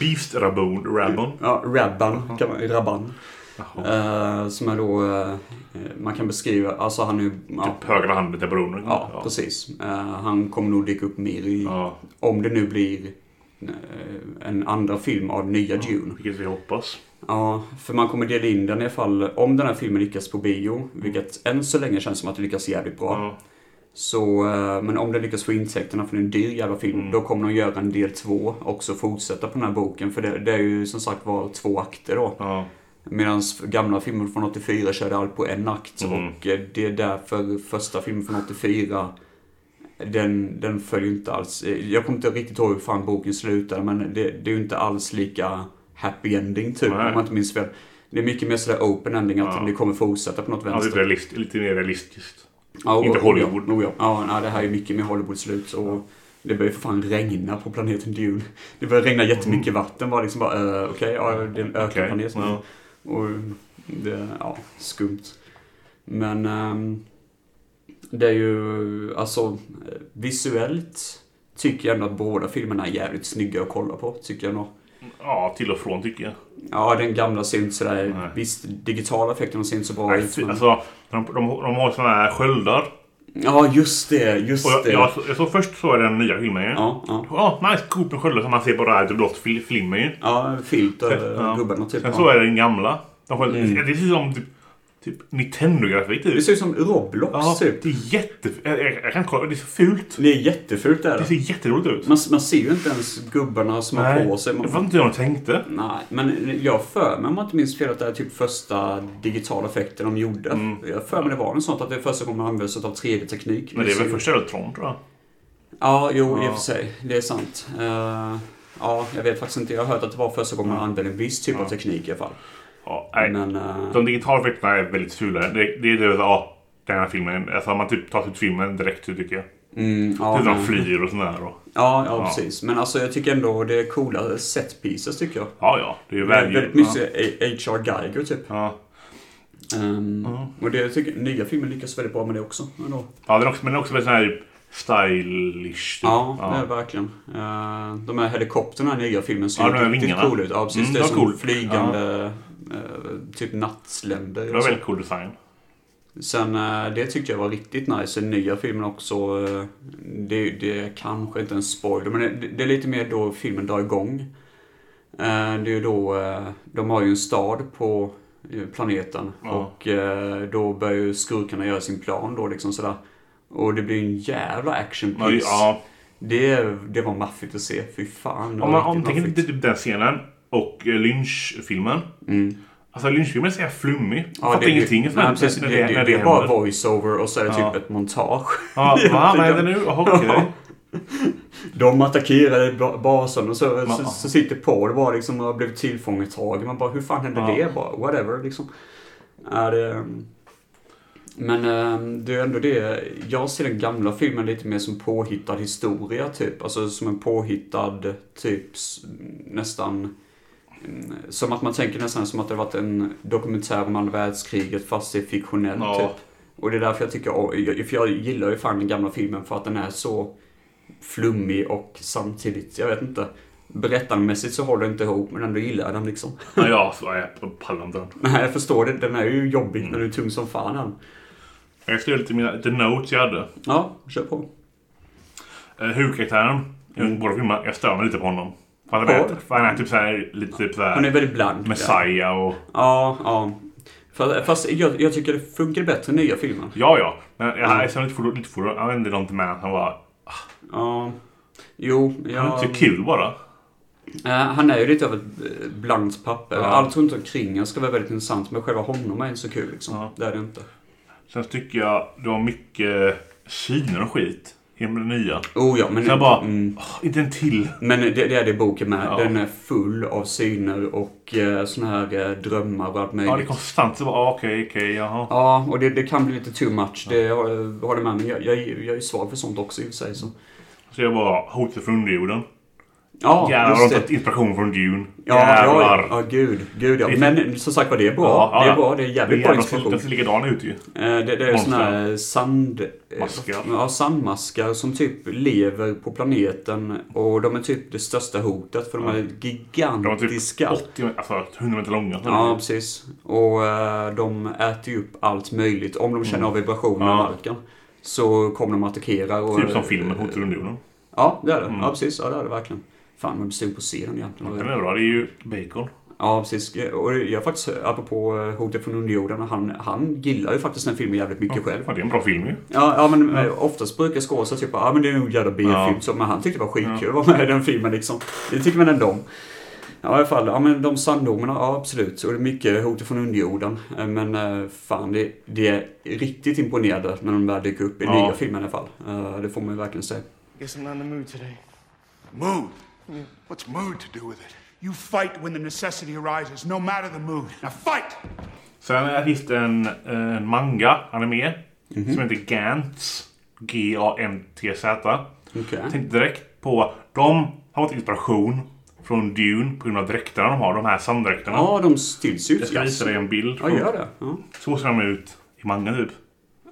Beast Raboon Rabon.
ja, Rabban kan man, Rabban.
Jaha.
Eh, som är då, eh, eh, man kan beskriva, alltså han är ju- ja,
Typ högra handen till bron.
ja, precis. Eh, han kommer nog dyka upp mer i,
Ja,
om det nu blir eh, en andra film av nya Dune.
vilket vi hoppas.
Ja, för man kommer dela in den i alla fall, om den här filmen lyckas på bio, vilket än så länge känns som att det lyckas jävligt bra.
Ja.
Så, eh, men om den lyckas få intäkterna från en dyr jävla film,
Mm.
då kommer de göra en del två också, fortsätta på den här boken. För det, det är ju som sagt var två akter då.
Ja.
Medan gamla filmer från 84 körde allt på en akt.
Mm.
Och eh, det är därför första filmen från 84, den, den följer ju inte alls. eh, Jag kommer inte riktigt ihåg hur fan boken slutade, men det, det är ju inte alls lika happy ending typ,
Nej.
om man inte minns fel. Det är mycket mer sådär open ending, att
Ja.
det kommer fortsätta på något
Ja,
vänster.
lite, realist, lite mer realistiskt.
Ja,
Inte
och-
Hollywood.
Oh ja. ja, nej, det här är mycket mer Hollywood-slut. Och det börjar för fan regna på planeten Dune. Det börjar regna jättemycket vatten. Bara liksom bara, uh, okej, ja, det är en
Mm. Okej.
ökenplanet nu.
Ja.
Och det, ja, skumt. Men ehm, det är ju, alltså eh, visuellt tycker jag ändå att båda filmerna är jävligt snygga att kolla på. Tycker jag nog.
ja, till och från tycker jag.
Ja, den gamla ser inte sådär,
Nej.
visst digitala effekterna ser inte så bra
Nej,
ut.
fy-
Men,
alltså, de, de, de har såna här sköldar.
ja, just det, just
Och jag,
det.
jag, så, jag såg först så är den nya filmen ju. Ja,
ja, ja.
nice. Coolt med sköldar som man ser på det här blått fil, filmen ju.
Ja, filt och
Ja.
gubben och typ.
Sen
ja. Mm.
så är det den gamla. De sköldar, Det ser ut som typ, typ Nintendo-grafik
Det
typ.
ser ut som Roblox
Ja,
typ.
det är jätte... Jag, jag, jag kan inte kolla. Det är så fult.
Det är jättefult det
Det
här.
ser jätteroligt ut.
Man, man ser ju inte ens gubbarna som har på sig.
jag
Man,
fattar inte hur de tänkte.
nej, men jag har för mig om jag inte minns fel att det här är typ första digitala effekten de gjorde.
Mm.
Jag har för mig det var något sånt att det är första gången man använder sig av 3D-teknik.
Men det är väl
ser-
första Ultron tror jag.
Ja, jo i och
Ja.
för sig. Det är sant. Eh, ja, jag vet faktiskt inte. Jag har hört att det var första gången man använde en viss typ av teknik i alla fall.
Ja, nej.
Men... eh,
De digitala effekterna är väldigt fula. Det, det är det, ja, den här filmen. Alltså man typ tar ut filmen direkt tycker jag.
mm, ja,
Ja, de
men-
flyr och sådär. Och,
ja, ja,
Ja.
precis. Men alltså jag tycker ändå det är coola set pieces tycker jag.
ja, ja. Det är ju
Det är
välgjort.
väldigt mycket H.R. Geiger typ.
Ja.
Ehm, Och det tycker jag, nya filmen lyckas väldigt bra med det också. Ändå.
ja, den är också, men den är också väldigt sån här typ stylish. Typ.
Ja, det är det verkligen. Eh, de här helikopterna i nya filmen ser
Ja,
ju
de här
riktigt
vingarna.
coola ut. Ja, precis.
Mm,
det är
de är
som
cool.
flygande eh, typ nattsländer.
det
och
var
så.
väldigt cool design.
Sen eh, det tyckte jag var riktigt nice. Den nya filmen också. eh, det, det är kanske inte en spoiler, men det, det är lite mer då filmen drar igång. Eh, det är ju då, eh, de har ju en stad på eh, planeten
Ja.
och eh, då börjar ju skurkarna göra sin plan då liksom sådär. Och det blir en jävla action
Ja, det-
piece.
ja.
Det, det var maffigt att se, fy fan. det
Om
var
man om
riktigt
tänker
maffigt.
lite typ den scenen och eh, Lynch-filmen. Alltså Lynch-filmen är så jävla flummig. Jag fattar
Mm. det-
ingenting.
nej, precis,
när
det, det,
när
det är bara
händer.
voiceover och så är det
Ja.
typ ett montage.
Ja, va? Vad händer nu? Jaha, okej.
Ja. De attackerade ba- basen och så, så,
Ja.
så sitter Paul bara liksom och har blivit tillfångatagen. Man bara, hur fan hände
Ja.
det? Bara, whatever liksom. Är det, men eh, det är ändå det. Jag ser den gamla filmen lite mer som påhittad historia typ. Alltså som en påhittad typ s- nästan. mm, Som att man tänker nästan som att det varit en dokumentär om andra världskriget fast det är fiktionellt
Ja.
typ. Och det är därför jag tycker, om- jag- för jag gillar ju fan den gamla filmen för att den är så flummig och samtidigt, jag vet inte. Berättarmässigt så håller det inte ihop men ändå gillar jag den liksom.
Ja, ja, så är jag pallar inte den.
Nej, jag förstår det. Den är ju jobbig men den är tung som fan den.
Jag skrev lite mina lite notes jag hade.
Ja, kör på.
Eh, Huvudkaraktären i
Mm.
båda filmerna, jag stör mig lite på honom. För han
Paul?
är, för han är typ såhär, lite typ
Han är
såhär
väldigt bland.
Messiah och...
Ja, ja. Fa- Fast jag, jag tycker det funkar bättre i nya filmen.
Ja, ja. Men jag,
Mm.
jag är lite för lite för Han vände långt med. Han var...
Ja. Jo, jag...
Han är inte så kul bara.
Eh, han är ju lite av ett eh, blankt papper. Allt runt omkring han ska vara väldigt intressant men själva honom är inte så kul liksom.
Ja.
Det är det inte.
Sen tycker jag det var mycket syner och skit. i den nya.
Oh ja, men...
Så jag bara,
mm.
"Åh, inte en till.
Men det, det är det boken med.
Ja.
Den är full av syner och eh, såna här eh, drömmar och allt möjligt.
Ja, det är konstant. Så bara, ah, okej, okej, jaha.
Ja, och det, det kan bli lite too much. Det har- har det med mig. Jag, jag, jag är svag för sånt också i och för sig. Så.
Så jag bara, hotet från underjorden.
Ja,
Jävlar, har
just
de
det.
tagit inspiration från Dune?
Ja,
Jävlar.
ja, ja, gud, gud ja.
Det är-
Men som sagt var, det är bra. det är bra. Det är jävligt bra inspiration.
Den ser likadan ut ju.
Eh, Det, det är
Monster.
såna här sand... eh,
Maskar.
Ja, sandmaskar som typ lever på planeten och de är typ det största hotet för de är
De var typ
gigantiska.
80, meter- alltså 100 meter långa.
Ja, precis. Och eh, de äter ju upp allt möjligt. Om de känner av vibrationer i
Mm. Ja.
marken så kommer de att attackera. Och,
Typ som filmen Hotet från underjorden.
Ja, det är det. Ja, precis. Ja, det är det verkligen. Fan, man blir sugen på att se den egentligen.
Den är bra. Det är ju bacon.
Ja, precis. Och jag har faktiskt, apropå eh, Hotet från Underjorden, han, han gillar ju faktiskt den filmen jävligt mycket själv.
Ja, det är en bra film ju.
Ja, ja men eh, oftast brukar skådisar typ ja men det är nog en jävla B-film.
Ja.
så Men han tyckte det var skitkul att vara med i den filmen liksom. Det tycker man ändå om. Ja, i alla fall. Ja, men de sanddomarna, ja absolut. Och det är mycket hot från underjorden. Eh, Men eh, fan, det, det är riktigt imponerande när de väl dyker upp i
Ja.
nya filmen i alla fall. Eh, Det får man ju verkligen säga.
Guess I'm not in the mood today.
Mood? What's mood to do with it? You fight when the necessity arises, no matter the mood. Now fight!
Sen finns det en, eh, en manga, anime,
Mhm.
som heter Gantz. G-A-N-T-Z.
Okej.
Jag tänkte direkt på... De har fått inspiration från Dune på grund av dräkterna de har. De här sanddräkterna.
Ja, de stills ut.
Jag ska visa dig en bild.
Ja, gör det. Ja.
Så ser de ut i manga typ.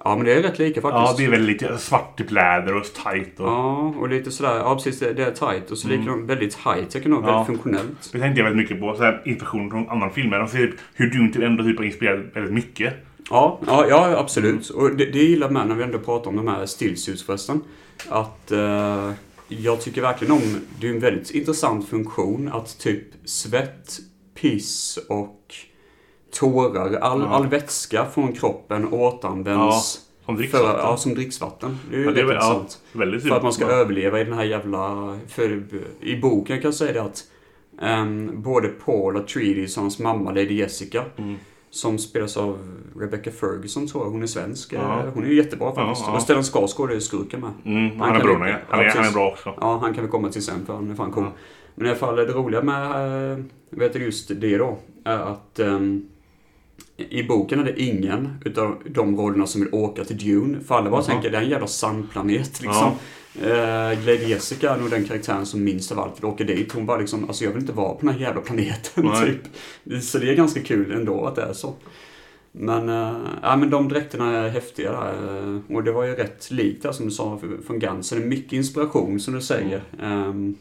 ja, men det är rätt lika faktiskt.
Ja, det är väldigt lite svart typ läder och tajt. Och...
Ja, och lite sådär. Ja, precis. Det det är tight. Och så mm. likadant väldigt high-tech ändå. Väldigt funktionellt.
Det tänkte jag väldigt mycket på. Så här, inspiration från andra filmer. De ser typ hur Dune typ ändå typ har inspirerat väldigt mycket.
Ja, ja, ja absolut.
Mm.
Och det, det gillar man när vi ändå pratar om de här stillsuits förresten. Att eh, jag tycker verkligen om, det är en väldigt intressant funktion att typ svett, piss och tårar, all, all vätska från kroppen återanvänds.
Ja, som dricksvatten.
För, ja, som dricksvatten. Det är ju
Ja, det är
rätt
väl- ja,
intressant.
väldigt
för att man ska
bra.
överleva i den här jävla... För i boken kan jag säga det att ehm, både Paul och Treaties och hans mamma Lady Jessica
Mm.
som spelas av Rebecca Ferguson tror jag. Hon är svensk. Eh, Hon är ju jättebra faktiskt.
Ja, ja.
Och Stellan Skarsgård är ju skurken med.
Mm, han är
kan
bra,
vi-
nej. Han är-
precis.
han är bra också.
Ja, han kan vi komma till sen för han är fan cool. Men i alla fall det roliga med eh, vet du, just det då är att ehm, i boken är det ingen utav de rollerna som vill åka till Dune. För alla bara tänker det är en jävla sandplanet liksom. Eh, Lady Jessica är nog den karaktären som minst av allt vill åka dit. Hon bara liksom, alltså jag vill inte vara på den här jävla planeten
Nej.
typ. Så det är ganska kul ändå att det är så. Men, eh, ja, men de dräkterna är häftiga där. eh, Och det var ju rätt likt där som du sa f- från Guns. Så det är mycket inspiration som du säger. Mm.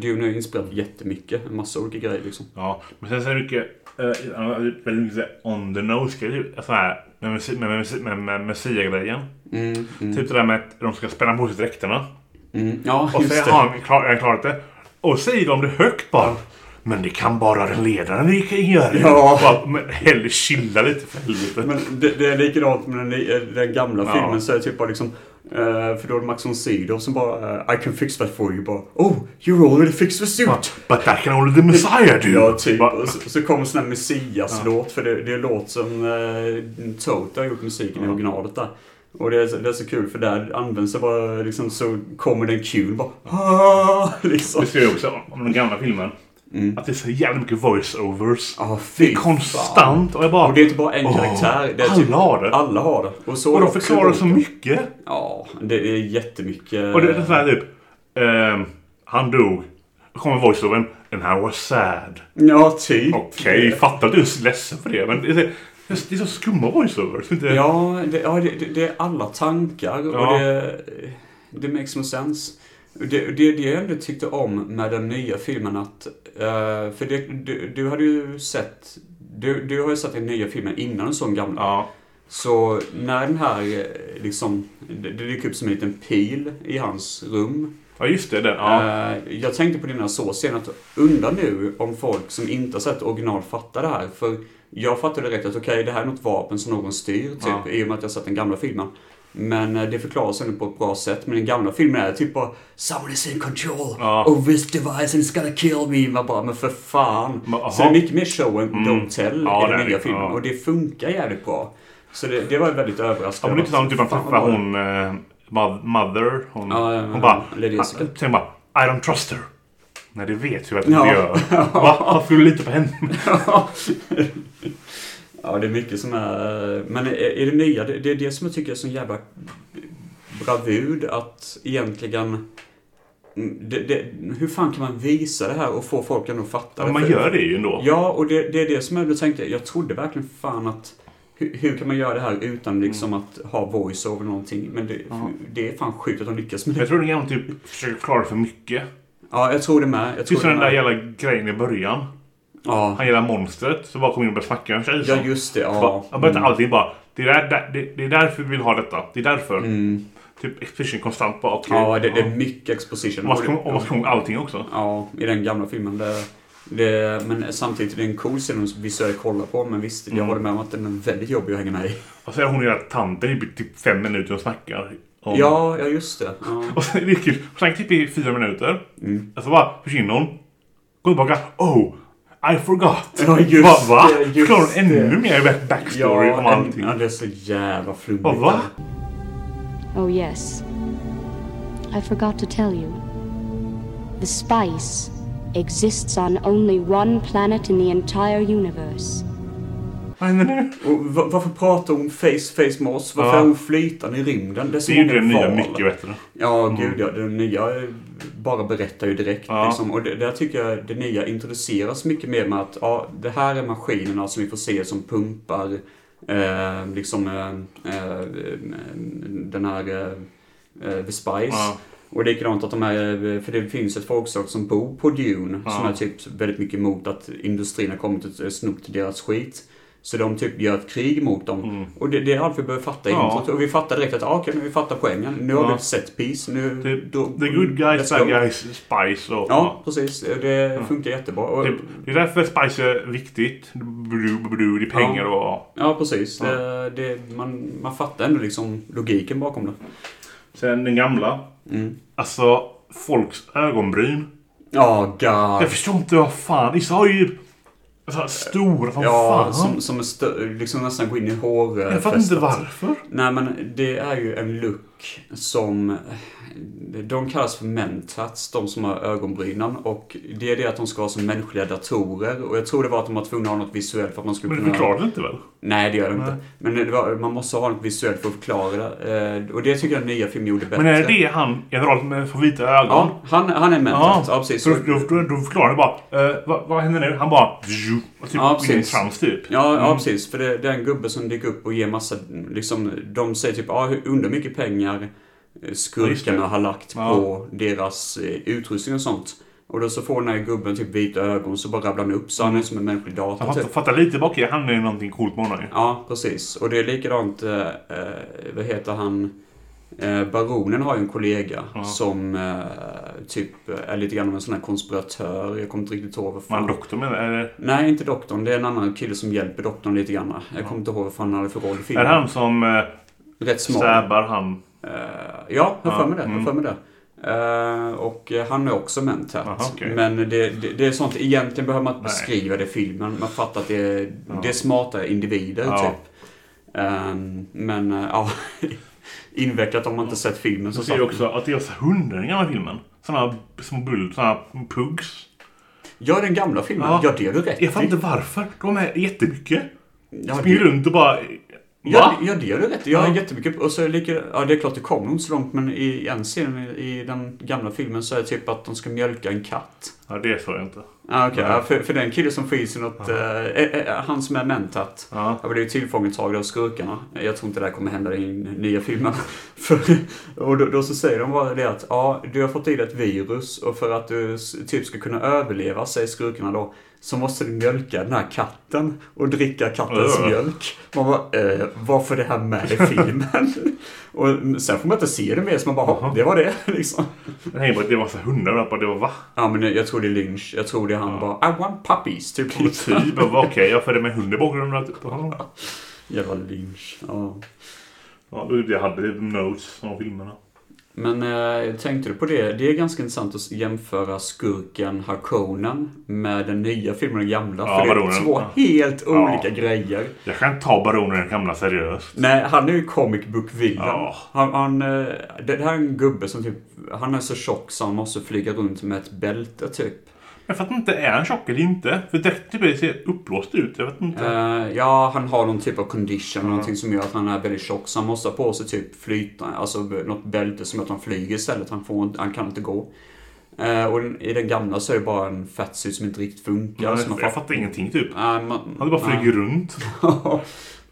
Dune har ju inspirerat jättemycket. En massa olika grejer liksom.
Ja, men sen så är det mycket... eh, han har väldigt mycket så här on the nose grejer. typ, Så här, med, messi- med, messi- med, med Messia-grejen.
Mm,
Typ det där med att de ska spänna på sig dräkterna.
Ja,
Mm. Och
just
så
det.
har han klar, jag klarat det. Och säger de det högt bara. Men det kan bara den ledaren vi kan göra.
Ja.
Bara, men hellre chilla lite för helvete.
Men det, det är likadant med den, li- eh, den gamla
Ja.
filmen. Så är det typ bara liksom... eh, för då är det Max von Sydow som bara eh, I can fix that for you. Bara Oh, you're already fixed the suit.
But that can only the messiah do.
Ja, typ.
Bara,
Och så, så kommer sån här Messias-låt, för det, det är låt som eh, Toto har gjort musiken i originalet där. Och det är, så- det är så kul för där används det bara liksom så kommer den kul bara "Ah", liksom.
det ser jag också om den gamla filmen. Att det är så jävla mycket voice-overs.
Mm. Ja,
det
Ah, fy
är konstant. Och jag bara...
Och det är inte bara en
Åh,
karaktär. Det är
alla
typ,
har det.
Alla har det. Och, så
och
är
de
det också
förklarar
i
så
boken.
mycket.
Ja, det är jättemycket.
Och det är så här typ... ehm, han dog. Då kommer voice-overn. And I was sad.
Ja, typ.
Okej, fattar att du är så ledsen för det. Men det är, det är så skumma voiceovers. Inte...
Ja, det, ja det, det, det är alla tankar och
Ja.
det, det makes no sense. Det, det, det jag ändå tyckte om med den nya filmen att, eh, för det, du, du hade ju sett, du, du har ju sett den nya filmen innan du såg den gamla.
ja.
Så när den här eh, liksom, det, det dyker upp som en liten pil i hans rum.
Ja, just det. Den. Ja.
Eh, Jag tänkte på dina så sen att undra nu om folk som inte har sett original fattar det här. För jag fattade direkt att okej, det här är något vapen som någon styr, typ,
Ja.
i och med att jag sett den gamla filmen. Men eh, det förklaras ändå på ett bra sätt. Men den gamla filmen är typ bara Someone is in control
Ja.
of this device and it's gonna kill me. Man bara, men för fan.
Men, aha. Mm.
så det är mycket mer show än don't tell
Ja,
i
det
den
är
nya
det.
filmen.
Ja.
Och det funkar jävligt bra. Så det, det var jag väldigt
Ja,
överraskande.
men det är intressant typ att
Fan,
träffa
vad bra.
hon eh, mo- mother. Hon,
Ja, ja, ja,
hon bara...
Lady
ah,
Jessica.
Sen bara, I don't trust her. Nej, det vet jag att du
Ja.
inte gör. Va? Varför litar på henne?
ja, det är mycket som är... Men är, är det nya? Det, det är det som jag tycker är sån jävla bravur att egentligen... Mm, Det, det, hur fan kan man visa det här och få folk att ändå fatta
Men man
För-
gör det ju ändå.
Ja, och det, det är det som jag då tänkte. Jag trodde verkligen fan att hur, hur kan man göra det här
Mm.
utan liksom att ha voice-over någonting? Men det, det är fan sjukt att de lyckas med det.
Jag tror den gamla typ försöker förklara för mycket.
Ja, jag tror det med. Jag tror
Tills
det
den där
med.
jävla grejen i början.
Ja,
Han gillar monstret, så bara kom in och började snacka med en
ja,
tjej.
just det. Mm.
Ja.
Ja.
Jag berättar allting bara. Det är, där, där, det, det är därför vi vill ha detta. Det är därför. Typ exposition konstant bara. okej.
Mm. Ja, det, det är mycket exposition.
Om man ska komma- om man ska komma ihåg allting också.
Ja, i den gamla filmen. Det, det, men samtidigt, det är en cool scen som visuellt kollar på. Men visst,
Mm.
jag håller med om att den är väldigt jobbig att hänga med i.
Och så är hon hela tanten i typ fem minuter och snackar. Om.
Ja, ja just det. Ja.
Och sen är det kul. Hon snackar typ i fyra minuter.
Mm.
Och så bara försvinner hon. Går tillbaka. Oh! I forgot!
Ja, just
Bara, va?
det, just
Förklarar hon
det.
ännu mer back- backstory om
Ja,
allting.
en, ja, det är så jävla flummigt.
Bara, va?
Oh, yes. I forgot to tell you. The spice exists on only one planet in the entire universe.
Vad händer nu?
Och va- varför pratar hon face face med oss? Varför
Ja.
är hon flytande i rymden? Det är, så
Det är ju
många
det nya
val.
mycket bättre.
Ja, gud ja. Det nya eh, bara berättar ju direkt.
Mm. Ja.
Liksom. Och det, där tycker jag det nya introduceras mycket mer med att ja, det här är maskinerna som vi får se som pumpar eh, liksom eh, eh, den här eh, eh, The Spice.
Ja.
Och likadant att de här, eh, för det finns ett folkslag som bor på Dune som är typ väldigt mycket emot att industrin har kommit och snott deras skit. Så de typ gör ett krig mot dem.
Mm.
Och det, det är allt vi behöver fatta i
Ja.
introt. Och vi fattar direkt att ah, okej, men vi fattar poängen. Nu har vi
Ja.
ett set piece. Nu,
The,
då-
the good guys,
let's go.
bad guys, spice och...
Ja, precis. Det funkar jättebra. Och,
Det, det är därför spice är viktigt. Bru, bru, det är pengar och...
Ja, precis. Det, det, man, man fattar ändå liksom logiken bakom det.
Sen den gamla.
Mm.
Alltså, folks ögonbryn.
Ja, god.
Jag förstår inte vad fan. Vissa har ju... Alltså, stora som
Ja,
fan.
som, som är stö- liksom nästan går in i hår.
jag fattar inte varför.
Nej men det är ju en look som... De kallas för mentats, de som har ögonbrynen. Och det är det att de ska vara som mänskliga datorer. Och jag tror det var att de var tvungna att ha något visuellt för att man skulle
Men det
kunna...
förklarar det inte väl?
Nej det gör de inte. Men det var, man måste ha något visuellt för att förklara det. Eh, Och det tycker jag den nya filmen gjorde bättre.
Men är det han, generalen med får vita ögon?
Ja, han, han är mentat. Ja, precis.
Då, då, då, då förklarar det bara. eh, vad, vad händer nu? Han bara... Zju, och typ
Ja,
går in i en
precis.
trans typ.
Ja, ja, precis. För det, det är en gubbe som dyker upp och ger massa, liksom, de säger typ, ah, hur- under mycket pengar eh,
just det.
skurkarna har lagt
Ja.
på deras eh, utrustning och sånt. Och då så får den här gubben typ vita ögon så bara rabblar han upp så han är som en mänsklig dator
Jag fattar,
typ.
fattar lite bak i. Han är ju någonting coolt med honom ju.
Ja, precis. Och det är likadant, eh, eh, vad heter han? Eh, baronen har ju en kollega som eh, typ är lite grann av en sån här konspiratör. Jag kommer inte riktigt ihåg vad
Var han
fan.
doktor menar Är det,
Nej, inte doktorn. Det är en annan kille som hjälper doktorn lite grann. Jag kommer inte ihåg vad fan han hade för roll i
är
filmen.
det han som eh,
Rätt smal.
stabbar han?
Eh, Ja, jag har för mig det. Jag
mm.
har för mig det. Eh, och eh, han är också mentat.
Aha, okej.
Men det, det, det är sånt, egentligen behöver man inte
Nej.
beskriva det i filmen. Man fattar att det är, det är smarta individer
Ja.
typ. Ehm, men eh, ja, invecklat om man inte sett filmen så
Jag ser ju
sagt.
också att det är så hundar i den gamla filmen. Såna små bull, såna pugs.
Ja, den gamla filmen. Ja,
Ja.
det har du rätt
Jag fattar
i.
inte varför. De är jättemycket.
Ja,
Springer
det,
runt och bara...
ja,
Va?
ja, det har du rätt i. Jag har
Ja.
jättemycket. Och så är det lika, ja, det är klart det kommer inte så långt men i en scen i, i den gamla filmen så är det typ att de ska mjölka en katt.
Ja, det sa jag inte.
Ah, okay. ja, för, för den killen som får i sig något, eh, eh, eh, han som är mentat,
Ja.
har blivit tillfångatagen av skurkarna. Jag tror inte det här kommer hända i den nya filmen. för, och då, då så säger de bara det att ja, du har fått i dig ett virus och för att du s- typ ska kunna överleva, säger skurkarna då, så måste du mjölka den här katten och dricka kattens
Ugh.
mjölk. Man bara, eh, varför är det här med i filmen? och sen får man inte se det mer, så man bara, "Ja, det var det liksom.
Nej, bara, det var så hundar. Jag bara, det var va?
Ja men jag tror det är Lynch. Jag tror det är han bara I want puppies. Typ.
Och Typ, jag bara, okej, jag födde med hund i bakgrunden. Typ. Ja,
Jävla Lynch. Ja.
det var typ det jag hade notes om filmerna.
Men eh, tänkte du på det? Det är ganska intressant att jämföra skurken Harkonnen med den nya filmen den gamla.
Ja,
för det är
Baronen.
två
Ja.
helt olika
Ja.
grejer.
Jag kan inte ta baronen i den gamla seriöst.
Nej, han är ju comic book villain.
Ja.
Han, han, eh, det här är en gubbe som typ, han är så tjock så han måste flyga runt med ett bälte typ.
Jag fattar inte, är han tjock eller inte? För dräkten ser uppblåst ut. Jag vet inte.
Eh, ja, han har någon typ av condition, någonting som gör att han är väldigt tjock. Så han måste ha på sig typ flyta, alltså b- något bälte som gör att han flyger istället. Han, får, inte- han kan inte gå. Eh, och den- i den gamla så är det bara en fatsuit som inte riktigt funkar.
jag,
så man
jag fattar ingenting typ.
Nej, man-
Han bara flyger runt.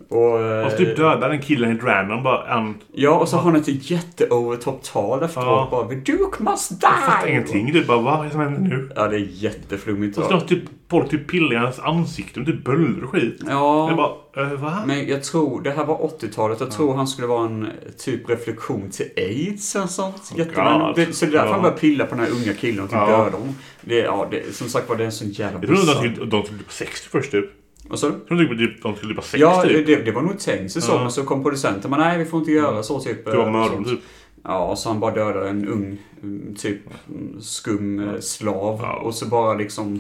och, eh,
Och typ dödar den killen helt random. Bara, han
ja, och så har han ett jätte-overtop-tal efteråt.
Ja.
Bara The Duke must die!
fattar ingenting. Du bara, vad är det som händer nu?
Ja, det är jätteflummigt.
Och så har typ, folk typ pillar i hans ansikte med typ böldror och skit.
Ja.
Jag bara, äh, va?
Men jag tror, det här var 80-talet, jag tror han skulle vara en typ reflektion till aids eller sånt. Jättemän.
Oh God.
Det, så det är därför
Ja.
han började pilla på den här unga killen och typ
Ja.
döda honom. Det, ja, det, som sagt var, det är en sån jävla
Jag trodde de
bizarr-
skulle, de skulle typ 60 först typ.
Vad sa du?
Jag trodde typ de skulle typ ha 60
Ja,
typ.
det, det var nog tänkt sig så,
Ja. Mm.
men så kom producenten men nej vi får inte göra så typ.
Det var
eh,
mördaren
sånt.
typ.
Ja, så han bara dödade en ung, mm, typ mm, skum eh, slav.
Ja.
Och så bara liksom...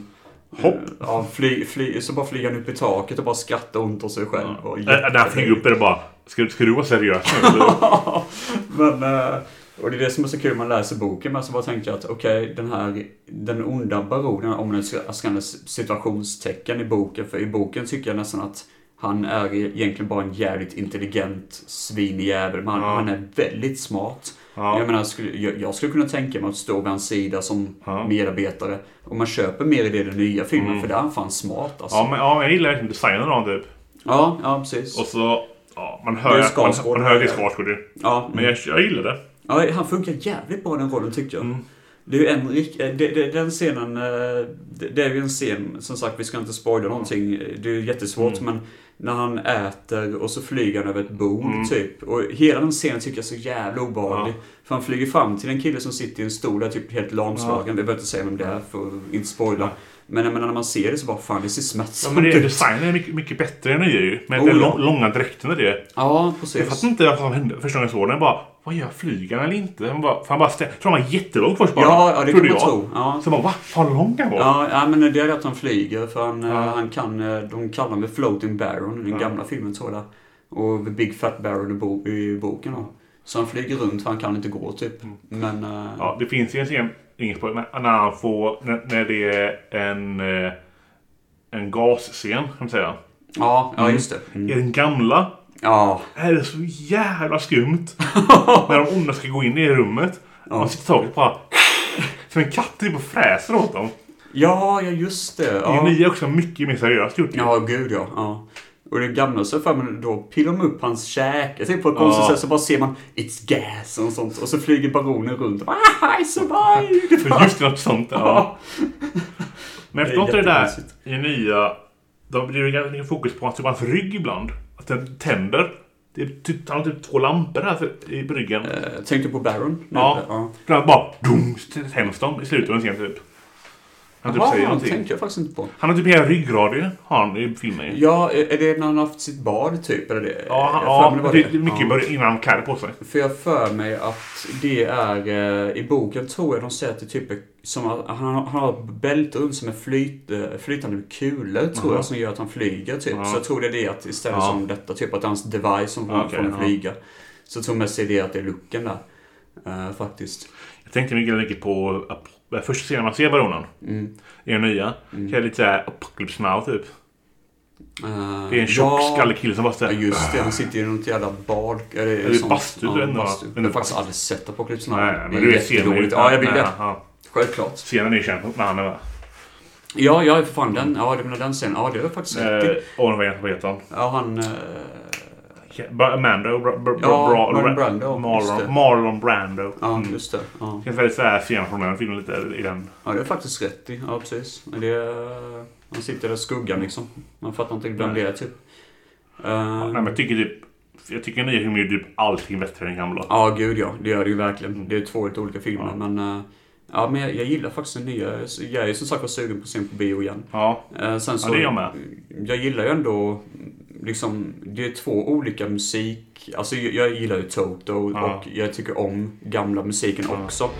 eh,
Hopp.
Ja, fly, fly, så bara flyger han upp i taket och bara skrattar ont åt sig själv. Och
Äh, När han flyger upp är det bara, ska, ska du vara seriös nu eller?
Men, eh, och det är det som är så kul när man läser boken. Men så bara tänkte jag att okej, den här, den onda baronen, om den ska ska använda situationstecken i boken. För i boken tycker jag nästan att han är egentligen bara en jävligt intelligent svinig jävel. Men han, han är väldigt smart.
Ja.
Jag menar, skulle, jag, jag skulle kunna tänka mig att stå vid hans sida som
Ja. Mm.
medarbetare. Och man köper mer i det i den nya filmen, för där är han fan smart alltså.
Ja
Ja,
men ja, jag gillar verkligen designen av honom typ.
ja, precis.
Och så, ja man
Det
hör
är
att man,
Skarsgård.
man hör att det är Skarsgård ju.
ja,
Men jag, jag gillar det.
Ja, han funkar jävligt bra i den rollen tyckte
Mm.
jag. Det är ju en rikt- eh, det, det, den scenen, eh, det, det är ju en scen, som sagt vi ska inte spoila någonting, det är ju jättesvårt
Mm.
men när han äter och så flyger han över ett bord
Mm.
typ. Och hela den scenen tycker jag är så jävla obehaglig. För han flyger fram till en kille som sitter i en stol där typ helt lamslagen, vi behöver inte säga vem det är för att inte spoila. Men jag menar, när man ser det så bara fan det ser
Ja,
smärtsamt
men det,
ut.
designen är mycket, mycket bättre än det är ju. Men
Oh,
det är
ja.
lång, långa dräkterna det är.
Ja,
Jag
precis.
fattar inte vad som hände första gången jag såg den. Jag bara, vad gör flygaren eller inte? Han bara, för han bara stä- tror han var jättelång först bara.
Ja, ja, det
Trodde
kan man
jag.
tro. Ja.
Så jag bara, va? Vad lång han var?
Ja, ja, men det är det att han flyger för han, eh, han kan, eh, de kallar honom för Floating Baron i den gamla filmen tror jag. Och The Big Fat Baron i, bo, i boken då. Så han flyger runt för han kan inte gå typ. Men eh,
Mm. Ja, det finns ju en scen, ingen spoiler, men när han får, när, när det är en, eh, en gasscen kan man säga.
ja, ja just det. Mm.
I den gamla
Ja,
är det så jävla skumt. när de onda ska gå in i rummet. Man sitter i taket och bara... Som en katt typ och fräser åt dem.
ja, ja just det.
Det
Ja,
nya är också mycket mer seriöst gjort. ju.
ja gud ja. ja. Och det gamla så för mig då pillar de upp hans käke typ på ett konstigt
Ja.
sätt så bara ser man It's gas och sånt. Och så flyger baronen runt och bara, ah, I survived!
För Just något sånt. Ja. Men jag förstår inte det där
jättekonstigt.
i nya... De driver ganska mycket fokus på hans, typ hans rygg ibland. Att den tänder. Det är typ, han har typ två lampor här för, i bryggan.
Eh, Tänkte på Baron?
ja. Ibland bara... Dum, tänds de i slutet av en scen typ. Han typ
Ja,
säger
det
någonting.
tänkte jag faktiskt inte på.
Han har typ hela ryggraden har han i filmen ju.
Ja, är det när han har haft sitt bad typ? Eller det?
Ja,
Jag
han,
för mig
ja
var
det, det är mycket
Ja.
början innan han klädde på sig.
För jag för mig att det är eh, i boken tror jag de säger att det typ är som att han, han har ett bälte runt som är flyt, eh, flytande kulor tror jag som gör att han flyger typ. Så jag tror det är det att istället
Ja.
som detta typ att det är hans device som får
Okej,
honom
ja.
flyga. Så tror jag mest det är det att det är looken där. eh, faktiskt.
Jag tänkte mycket, mycket på ap- eh, första scenen man ser baronen.
Mm.
I den nya. Det är lite såhär apocalypse now typ.
Eh,
Det är en tjock skallig kille som bara
Ja
såhär...
just det, han sitter i något jävla bad... Eller,
Eller bastu, du
ja,
vet inte vad-
bastu. Jag
men-
har faktiskt aldrig sett Apocalypse Now.
Nej,
Det
men
är
du ser
jättedåligt. Ja, jag vill det.
Ja.
Självklart.
Scenen är ju känd när han är med.
Ja, ja, för fan den. Ja, du menar den scenen. Ja, det är faktiskt
Eh,
rätt i.
Åh, vad heter- vad heter han?
Ja, han... eh,
Ja, Bra- Mando. Bra, bra,
Ja,
bra,
Marlon
bra,
Brando, just det.
Marlon, Marlon Brando.
Ja,
Mm.
just det. Ja.
Det känns väldigt såhär scenen från den filmen lite i den.
ja, det är faktiskt rätt i. Ja, precis. Men Det är... Han sitter där i skuggan liksom. Man fattar inte vem det är typ. Eh,
Nej men jag tycker typ... Jag tycker nya filmen gör typ allting bättre än gamla.
Ja, gud ja. Det gör det ju verkligen. Det är två helt olika filmer, men... eh, Ja, men jag, jag gillar faktiskt den nya. Jag är ju som sagt var sugen på att se den på bio igen.
Ja.
Eh, sen så,
Ja, det är jag med.
Jag gillar ju ändå liksom, det är två olika musik. Alltså jag, jag gillar ju Toto
Ja.
och jag tycker om gamla musiken också.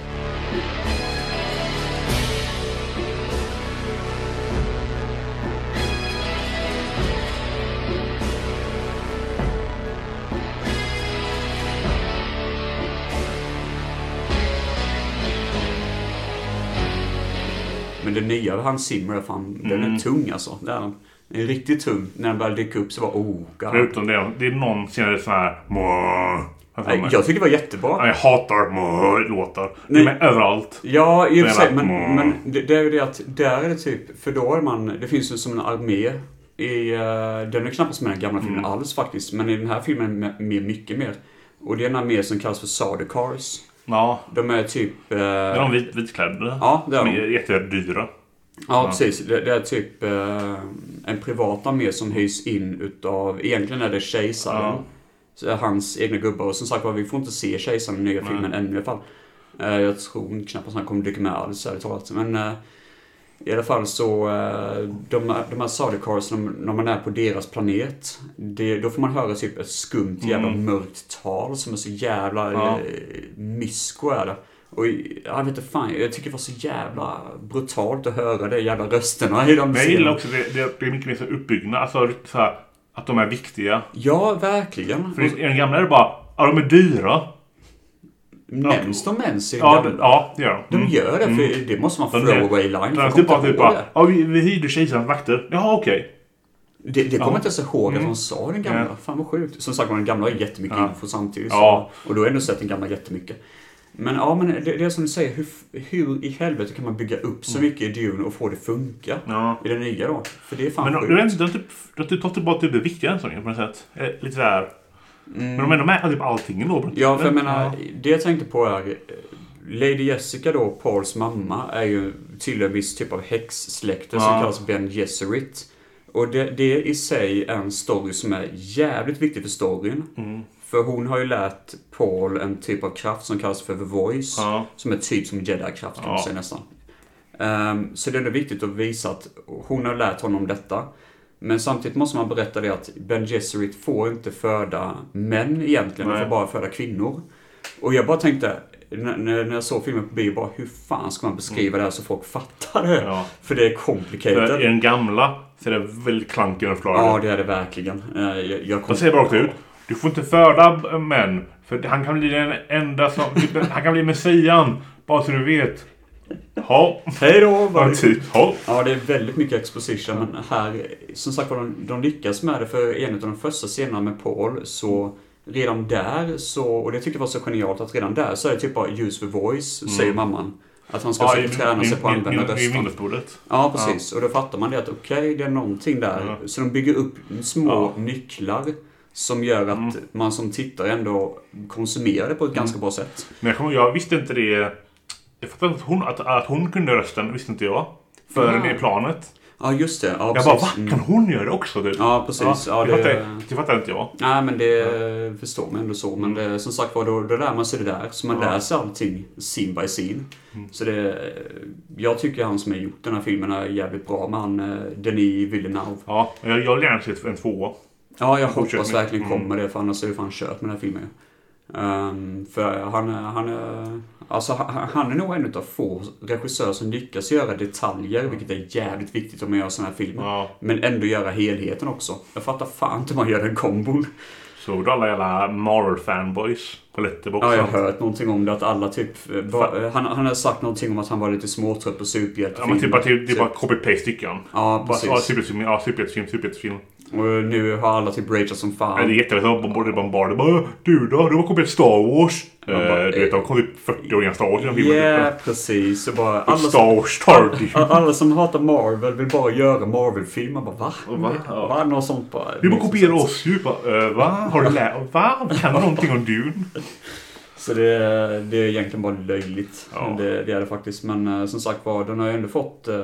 Men den nya av Hans Zimmer, fan,
Mm.
den är tung alltså. Den är, den är riktigt tung. När den började dyka upp så var oh, god.
Förutom det, det är någon senare sån här... "Mwah", här
Nej,
framme.
jag tycker det var jättebra.
Ja, Jag hatar "mwah"-låtar. Det är
Nej.
med överallt.
Ja, i och för
Spelat.
sig. Men,
Mm.
men det, det är ju det att där är det typ, för då är man, det finns ju som en armé i, eh, den är knappast med i den gamla filmen
Mm.
alls faktiskt, men i den här filmen är det med, med mycket mer. Och det är en armé som kallas för Sardecars.
Ja.
De är typ... eh,
Det är de vit, vitklädda.
Ja, det är
de
de.
är jättedyra.
Ja, precis. Det, det är typ eh, en privat armé som höjs in utav, egentligen är det kejsaren.
Ja.
Så är hans egna gubbar. Och som sagt var, vi får inte se kejsaren i nya filmen ännu i alla fall. Eh, jag tror knappast han kommer dyka med alls, ärligt talat. Men eh, i alla fall så, eh, de, de här Sardaukars, när när man är på deras planet, det, då får man höra typ ett skumt jävla mörkt tal som är så jävla
Mm. Ja.
eh, mysko är det. Och jag vet inte fan, jag tycker det var så jävla brutalt att höra de jävla rösterna i de
Men jag
scenerna.
gillar också det, det, det är mycket mer så uppbyggna. Alltså så här, att de är viktiga.
Ja, verkligen.
För i den gamla är det bara, ja de är dyra.
Nämns de ens i
Ja,
gamla?
d- ja det gör de.
De
Mm.
gör det, för det måste vara en
De gör-
throwaway line. för
Den
jag
typ
kommer
bara,
inte
typ
ihåg
bara, ja vi, vi hyrde kejsarens vakter. Jaha okej.
det. Det, det kommer
Ja. Mm.
inte ens ihåg att de sa den gamla.
Ja.
Fan vad sjukt. Som sagt var, den gamla har jättemycket
Ja.
info samtidigt.
Ja.
Så, och då har jag ändå sett den gamla jättemycket. Men ja, men det, det är som du säger. Hur, f- hur i helvete kan man bygga upp så mycket i Dune och få det funka?
Mm. Ja.
I den nya då? För det är fan
Men de,
sjukt.
de, de, de, typ, de typ, tar tillbaka typ det viktiga än så länge på något sätt. Eh, Lite sådär. Men de är ändå med på typ allting ändå.
Mm. Ja, för jag menar, det jag tänkte på är... eh, Lady Jessica då, Pauls mamma, är ju till en viss typ av häxsläkte som
Ja.
kallas Ben Gesserit. Och det, det i sig är en story som är jävligt viktig för storyn.
Mm.
För hon har ju lärt Paul en typ av kraft som kallas för The Voice.
Ja.
Som är typ som jedi-kraft kan man
Ja.
säga nästan. Ehm, så det är ändå viktigt att visa att hon har lärt honom detta. Men samtidigt måste man berätta det att Ben Gesserit får inte föda män egentligen, han
Nej.
får bara föda kvinnor. Och jag bara tänkte, när, när när jag såg filmen på bio, bara, hur fan ska man beskriva det här så folk fattar det?
Mm. Ja.
För det är
För I
complicated.
den gamla så är det väldigt klankig och flödig.
Ja, det är det verkligen. Eh, Jag, jag kom...
De säger bara rakt ut. Du får inte föda män. För han kan bli den enda som... Han kan bli messian. Bara så du vet. Ja.
Hej då! var
Ja,
det-
typ. Ja.
Ja, det är väldigt mycket exposition, men här, som sagt var, de, de lyckas med det för en av de första scenerna med Paul, så redan där så, och det tycker jag var så genialt, att redan där så är det typ bara use the voice, säger mamman. Att han ska
Mm. Ja, i-
försöka träna sig på att
i- i-
använda
I
rösten.
Windows-bordet.
Ja, precis. Och då fattar man det att okej, det är någonting där. Så de bygger upp små nycklar som gör att
Mm.
man som tittare ändå konsumerar det på ett ganska bra sätt.
Men jag, kommer, jag visste inte det. Jag fattade att hon, att, att hon kunde rösten, visste inte jag. Förrän i planet.
Ja, just det. Ja,
Jag
precis. Mm.
bara va? Kan hon göra det också? Typ.
Ja, precis. Ja,
det,
det-
fattar, det fattar inte jag.
Nej, men det förstår man ändå så. Men
Mm.
det, som sagt var, då, då lär man sig det där. Så man lär sig allting scene by scene.
Mm.
Så det, jag tycker han som har gjort den här filmen är jävligt bra. Men han, eh, Denis Villeneuve.
Ja, jag, jag vill gärna se en tvåa.
Ja, jag
Fortsätt
hoppas
med- Mm.
verkligen kommer det. För annars är det fan kört med den här filmen. Ehm, för han, är- han, är- alltså, han, han är nog en av få regissörer som lyckas göra detaljer, vilket är jävligt viktigt om man gör sådana här filmer.
Ja.
Men ändå göra helheten också. Jag fattar fan inte hur man gör den kombon.
Såg du alla jävla Marvel-fanboys på Letterboxd?
Ja, jag har hört någonting om det. Att alla typ... eh, Bara, han, han har sagt någonting om att han var lite småtrött på
Ja, men
superhjältefilmer.
typ att det, det är
Typ.
bara copy-paste tycker jag.
Ja,
Bara,
precis.
ja, superhetsfilm, ja, superhetsfilm, superhetsfilm.
Typ. Och nu har alla typ rageat som
Ja. Det är
fan.
jättelätt att både bombarda bara Du då? Du har kommit Star Wars. Eh,
bara,
du vet, de kom typ 40 år innan Star Wars i den
Ja,
filmen. typ.
precis. Och bara, alla, som,
Star Wars Tardy.
alla som hatar Marvel vill bara göra Marvel-filmer. Bara, va?
Va? Ja.
Va? Något sånt bara.
Du bara kopierar oss ju. Bara, eh, va? Har du lärt Va? Kan du någonting om Dune?
Så det, det är egentligen bara löjligt.
Ja.
Det, det är det faktiskt. Men eh, som sagt var, den har ju ändå fått... eh,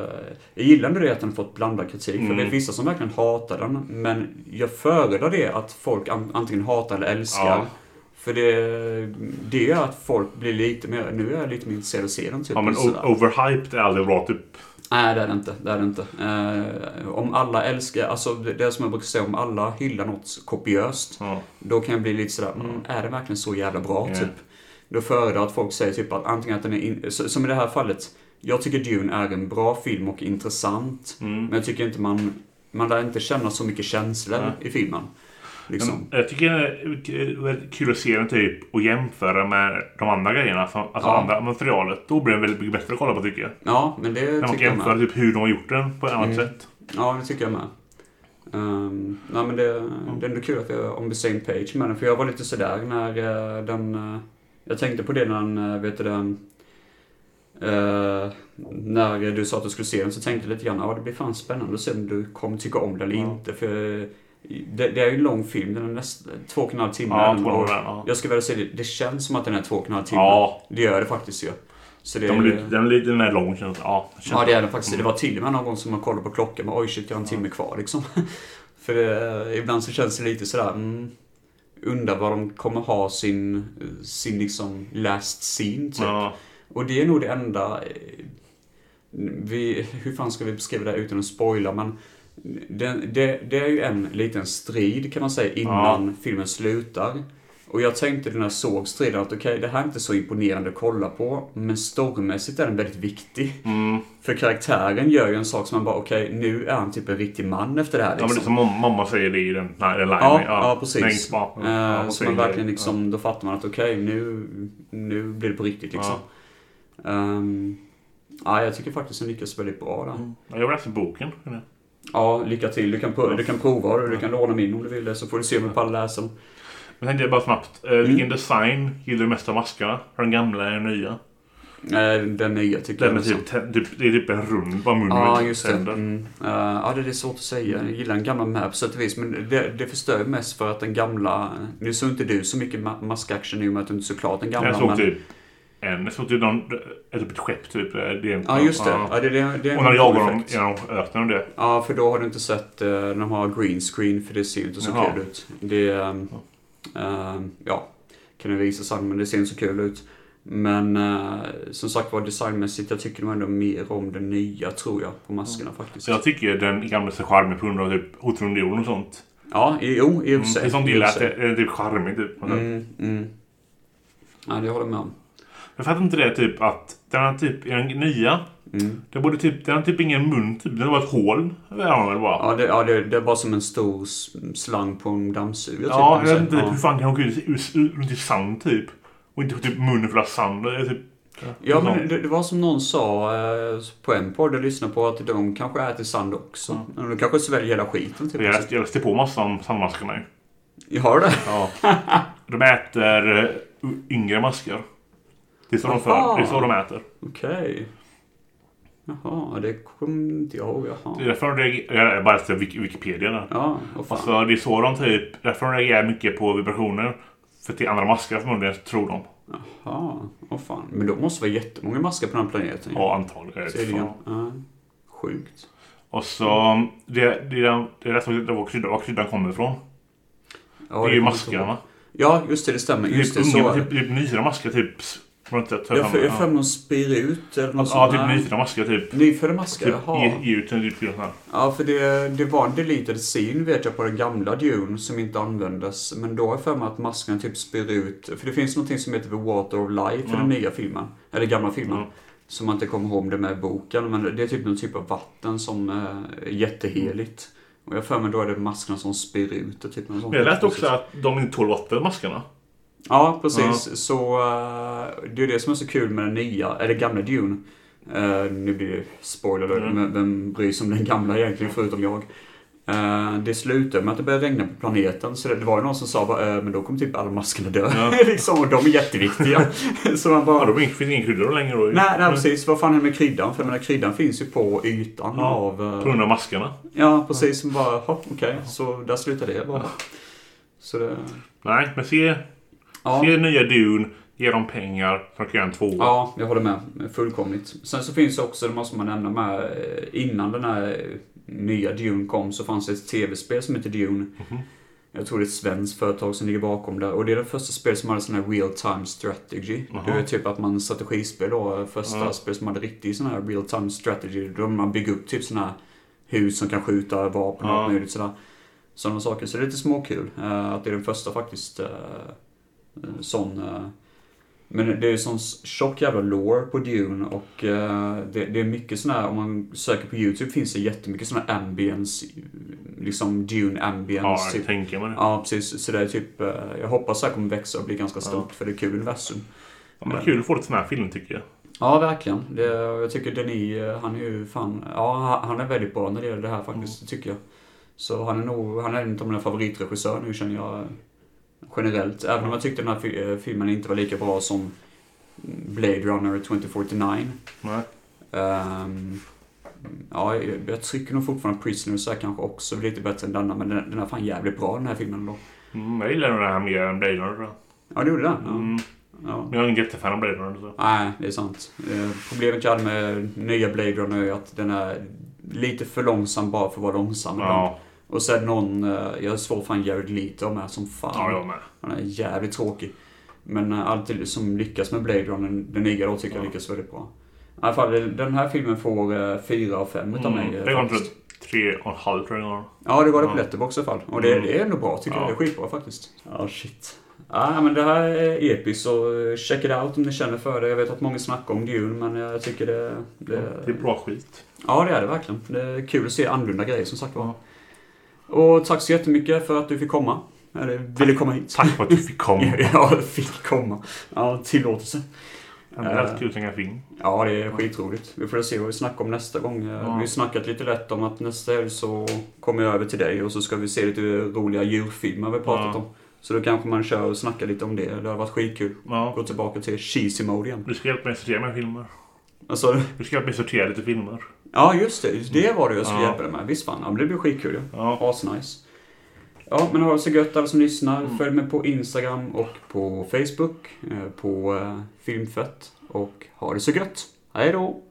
jag gillar ändå det att den fått blandad kritik. För
Mm.
det är vissa som verkligen hatar den. Men jag föredrar det att folk an, antingen hatar eller älskar.
Ja.
För det, det gör att folk blir lite mer... Nu är jag lite mer intresserad av att se den. Typ,
Ja men
sådär.
o- overhyped är aldrig bra typ.
Nej, det är det inte. Det är det inte. Eh, om alla älskar, alltså det det är som jag brukar säga, om alla hyllar något kopiöst,
Ja.
då kan jag bli lite sådär, mm, är det verkligen så jävla bra?
Ja.
Typ. Då föredrar att folk säger typ att antingen att den är, in, så- som i det här fallet, jag tycker Dune är en bra film och intressant,
Mm.
men jag tycker inte man, man lär inte känna så mycket känslor i filmen. Liksom.
Jag tycker det är väldigt kul att se den typ och jämföra med de andra grejerna, alltså alltså
Ja.
andra materialet. Då blir den väldigt mycket bättre att kolla på tycker jag.
Ja, men det
När
tycker
man
Mm.
kan
jag med.
jämföra typ hur de har gjort den på ett annat sätt.
Ja, det tycker jag med. Um, nej, men det,
Mm.
det är ändå kul att jag är on the same page med den, för jag var lite sådär när eh, den... eh, jag tänkte på det när den, eh, vet du den... eh, när du sa att du skulle se den så tänkte jag lite grann, ja det blir fan spännande att se om du kommer tycka om den eller inte. För eh, det, det är ju en lång film, den är nästan två och en halv timme.
Ja,
den,
två och en halv,
och
ja.
Jag ska väl säga det, det känns som att den är två och en halv timme.
Ja.
Det gör det faktiskt ju. Så det,
De är lite, den är lite mer lång känns Ja, känns
Ja det är typ- det faktiskt. Det var till och med någon gång som man kollade på klockan men oj shit jag har en timme kvar liksom. För det, ibland så känns det lite sådär, mm, undrar var de kommer ha sin, sin liksom last scene typ.
Ja.
Och det är nog det enda, eh, vi, hur fan ska vi beskriva det här utan att spoila men det, det, det är ju en liten strid kan man säga innan filmen slutar. Och jag tänkte när jag såg striden att okej, det här är inte så imponerande att kolla på, men stormässigt är den väldigt viktig.
mm.
För karaktären gör ju en sak som man bara, okej, nu är han typ en riktig man efter det här
Ja, men det är som mam- mamma säger det i den här linen.
Liksom- Ja, ja, precis.
Nej, inte mamma.
Eh,
Ja, hon
så
säger
man verkligen
det.
liksom, då fattar man att okej, nu, nu blir det på riktigt liksom. Ehm, ja, jag tycker faktiskt den lyckas väldigt bra där.
Ja. Jag läste boken.
Ja, lycka till. Du kan, pro- du kan prova och du kan låna min om du vill det, så får du se om du pallar läsa den.
Men tänkte jag bara snabbt.
Mm.
eh, Vilken design gillar du mest av maskarna? Den gamla eller den nya?
Eh, Den nya tycker
Den
jag.
med
också.
typ, te- typ, det är typ en rund bara mun
Ja,
med
just det.
tänder.
Mm. Eh, ja, det är svårt att säga. Jag gillar den gamla med på sätt och vis, men det, det förstör mest för att den gamla... Nu såg inte du så mycket ma- maskaction i och med att du inte såg klart den gamla.
Jag såg
men-
typ en. Jag såg typ, någon, ett, typ ett skepp typ. eh, Det är en,
Ja, just det. Ja, det, det, det är
Och när
en cool
de jagar dem
effekt.
genom öknen och det.
Ja, för då har du inte sett eh, när de har green screen, för det ser ju inte så
Jaha.
kul ut. Det, ehm, ehm, ja, kan jag visa sen, men det ser inte så kul ut. Men eh, som sagt var, designmässigt, jag tycker nog ändå mer om det nya, tror jag, på maskerna faktiskt.
Så jag tycker den gamla är charmig på grund av typ Hotet under jorden och sånt.
Ja, i- jo, i och för
Mm,
sig.
det är sånt
i
jag gillar,
och
att
för
det
sig.
det är typ charmigt typ. Men
Mm, mm. Ja, det håller jag med om.
Jag fattar inte det typ att den här typ, i den nya,
Mm.
det borde typ, den har typ ingen mun typ. Den har bara ett hål. Det har den väl bara.
Ja, det, ja det, det är bara som en stor s- slang på en dammsugare. typ,
Ja,
kan man
jag vet
säga.
inte typ, hur fan kan hon gå ut ut- ut- runt i sand typ? Och inte typ munnen full av sand. Det är typ,
Ja,
någon-
men det, det var som någon sa eh, på en podd jag lyssnade på att de kanske äter sand också. De kanske sväljer hela skiten. Typ.
Jag läste, jag läste på massa om sandmaskarna ju.
Jag har det.
Ja. De äter eh, u- yngre maskar. Det är så de för. Det är så de äter.
Okej. Jaha, det kommer inte jag ihåg.
Det
Jaha.
är därför de reagerar. Jag bara läste Wik- Wikipedia där.
Ja, och fan.
Alltså det är så de typ, därför de reagerar mycket på vibrationer. För till andra maskar förmodligen tror de.
Jaha, och fan. Men då måste det vara jättemånga maskar på den här planeten. ju.
Ja, antagligen. Jag vet
Tydligen.
fan.
Ja. Sjukt.
Och så, det, det, det, det är rätt vad var kryddan, var kryddan kommer ifrån.
Ja, kommer jag
det är ju
inte ihåg.
maskarna.
Ja, just det. Det stämmer. Just det,
typ,
så
unga,
är det.
typ, typ nyra maskar typ. s- Var det inte, tar
Jag har
jag
för- jag har
fram-
för mig att de spyr ut eller något
Ja,
sånt.
typ
Nej.
nyra maskar typ.
Nyfödda maskar,
Typ
jaha.
ge, ge ut en typ sån här.
Ja, för det, det var en deleted scene vet jag på den gamla Dune som inte användes. Men då har jag för mig att maskerna typ spyr ut. För det finns någonting som heter The Water of Life i
Mm.
den nya filmen. Eller gamla filmen. Som man inte kommer ihåg om det är med i boken. Men det är typ någon typ av vatten som eh, är jätteheligt. Och jag har för mig då är det maskerna som spyr ut det. Typ något sånt.
Men jag läste också att de inte tål vatten, maskarna.
Ja, precis. Så eh, det är det som är så kul med den nya, eller gamla Dune. Eh, nu blir det spoiler, då,
Mm.
men vem bryr sig om den gamla egentligen förutom jag? Eh, det slutar med att det börjar regna på planeten, så det, det var ju någon som sa bara, eh, men då kommer typ alla maskerna dö. liksom, och de är jätteviktiga. så man bara,
Ja, då finns det ingen kryddor längre då. ju.
nej, nej precis, vad fan är det med kryddan? För jag menar, kryddan finns ju på ytan
Ja.
av... eh,
På grund av maskarna.
ja, precis. Som bara, "Jaha, okej, så där slutar det bara. Så det...
Nej, men se,
Ja.
se nya Dune. Ge dem pengar så de kan göra en tvåa.
Ja, jag håller med. Fullkomligt. Sen så finns det också, det måste man nämna med, eh, innan den här eh, nya Dune kom så fanns det ett tv-spel som hette Dune. Jag tror det är ett svenskt företag som ligger bakom det. Och det är det första spelet som hade sån här real time strategy. Det är typ att man strategispel då. eh, Första spel som hade riktig sån här real time strategy. Då man bygger upp typ såna här hus som kan skjuta vapen och allt möjligt sådär. Sådana saker. Så det är lite småkul. eh, att det är den första faktiskt eh, eh, sån... eh, men det är ju sån tjock jävla lore på Dune och eh, det, det är mycket sån här, om man söker på YouTube finns det jättemycket sån här ambience, liksom Dune ambience.
Ja,
typ.
jag tänker mig det.
Ja, precis. Så det är typ, eh, jag hoppas det här kommer växa och bli ganska stort för det är kul universum.
Ja, men kul att få lite sån här film tycker jag.
Ja, verkligen. Det, jag tycker Denis, eh, han är ju fan, ja han- han är väldigt bra när det gäller det här faktiskt, tycker jag. Så han är nog, han är en av mina favoritregissörer nu känner jag eh, generellt. Även om jag tyckte den här fi- eh, filmen inte var lika bra som Blade Runner 2049.
Nej.
Ehm, ja, jag, jag tycker nog fortfarande Prisoners är kanske också lite bättre än denna, men den, den är fan jävligt bra den här filmen då.
Mm, jag gillar nog den här mer än Blade Runner. tror jag.
Ja, du gjorde den? Ja.
Mm,
Ja.
men jag är ingen jättefan av Blade Runner. Så.
Nej, det är sant. Eh, Problemet jag hade med nya Blade Runner är att den är lite för långsam bara för att vara långsam. ibland.
Ja,
Och sen någon, eh, jag är svår fan Jared Leto med som
ja,
fan.
jag med.
Han är jävligt tråkig. Men eh, allt det som lyckas med Blade Runner, den nya då tycker jag lyckas väldigt bra. I alla fall, den här filmen får eh, fyra av fem utav mig.
Mm,
eh,
det går
faktiskt.
inte tre och en halv tror jag.
Ja, det var det på
Ja.
Letterboxd i alla fall. Och det, det är ändå bra tycker
Ja.
jag. Det är skitbra faktiskt. Ja, shit. Ja, men det här är episkt så eh, check it out om ni känner för det. Jag vet att många snackar om Dune, men jag tycker det... det...
Det är bra skit.
Ja, det är det verkligen. Det är kul att se annorlunda grejer som sagt var.
Ja.
Och tack så jättemycket för att du fick komma. Eller ville komma hit.
Tack för att du fick komma.
ja, fick komma. Ja, tillåtelse.
Det är alltid kul att tänka film.
Ja, det är skitroligt. Vi får se vad vi snackar om nästa gång. Eh, Vi har snackat lite lätt om att nästa helg så kommer jag över till dig och så ska vi se lite roliga djurfilmer vi pratat
Ja.
om. Så då kanske man kör och snackar lite om det. Det hade varit skitkul.
Ja.
Gå tillbaka till cheesy mode igen.
Du ska hjälpa mig att sortera mina filmer.
Alltså,
Du ska hjälpa mig att sortera lite filmer.
ja, just det. Det var det jag skulle
Ja.
hjälpa dig med. Visst fan. Ja, men det blir skitkul ju.
Ja.
Asnice. Ja, men ha det så gött alla som lyssnar.
Mm.
Följ mig på Instagram och på Facebook. eh, På eh, Filmfett. Och ha det så gött. Hej då!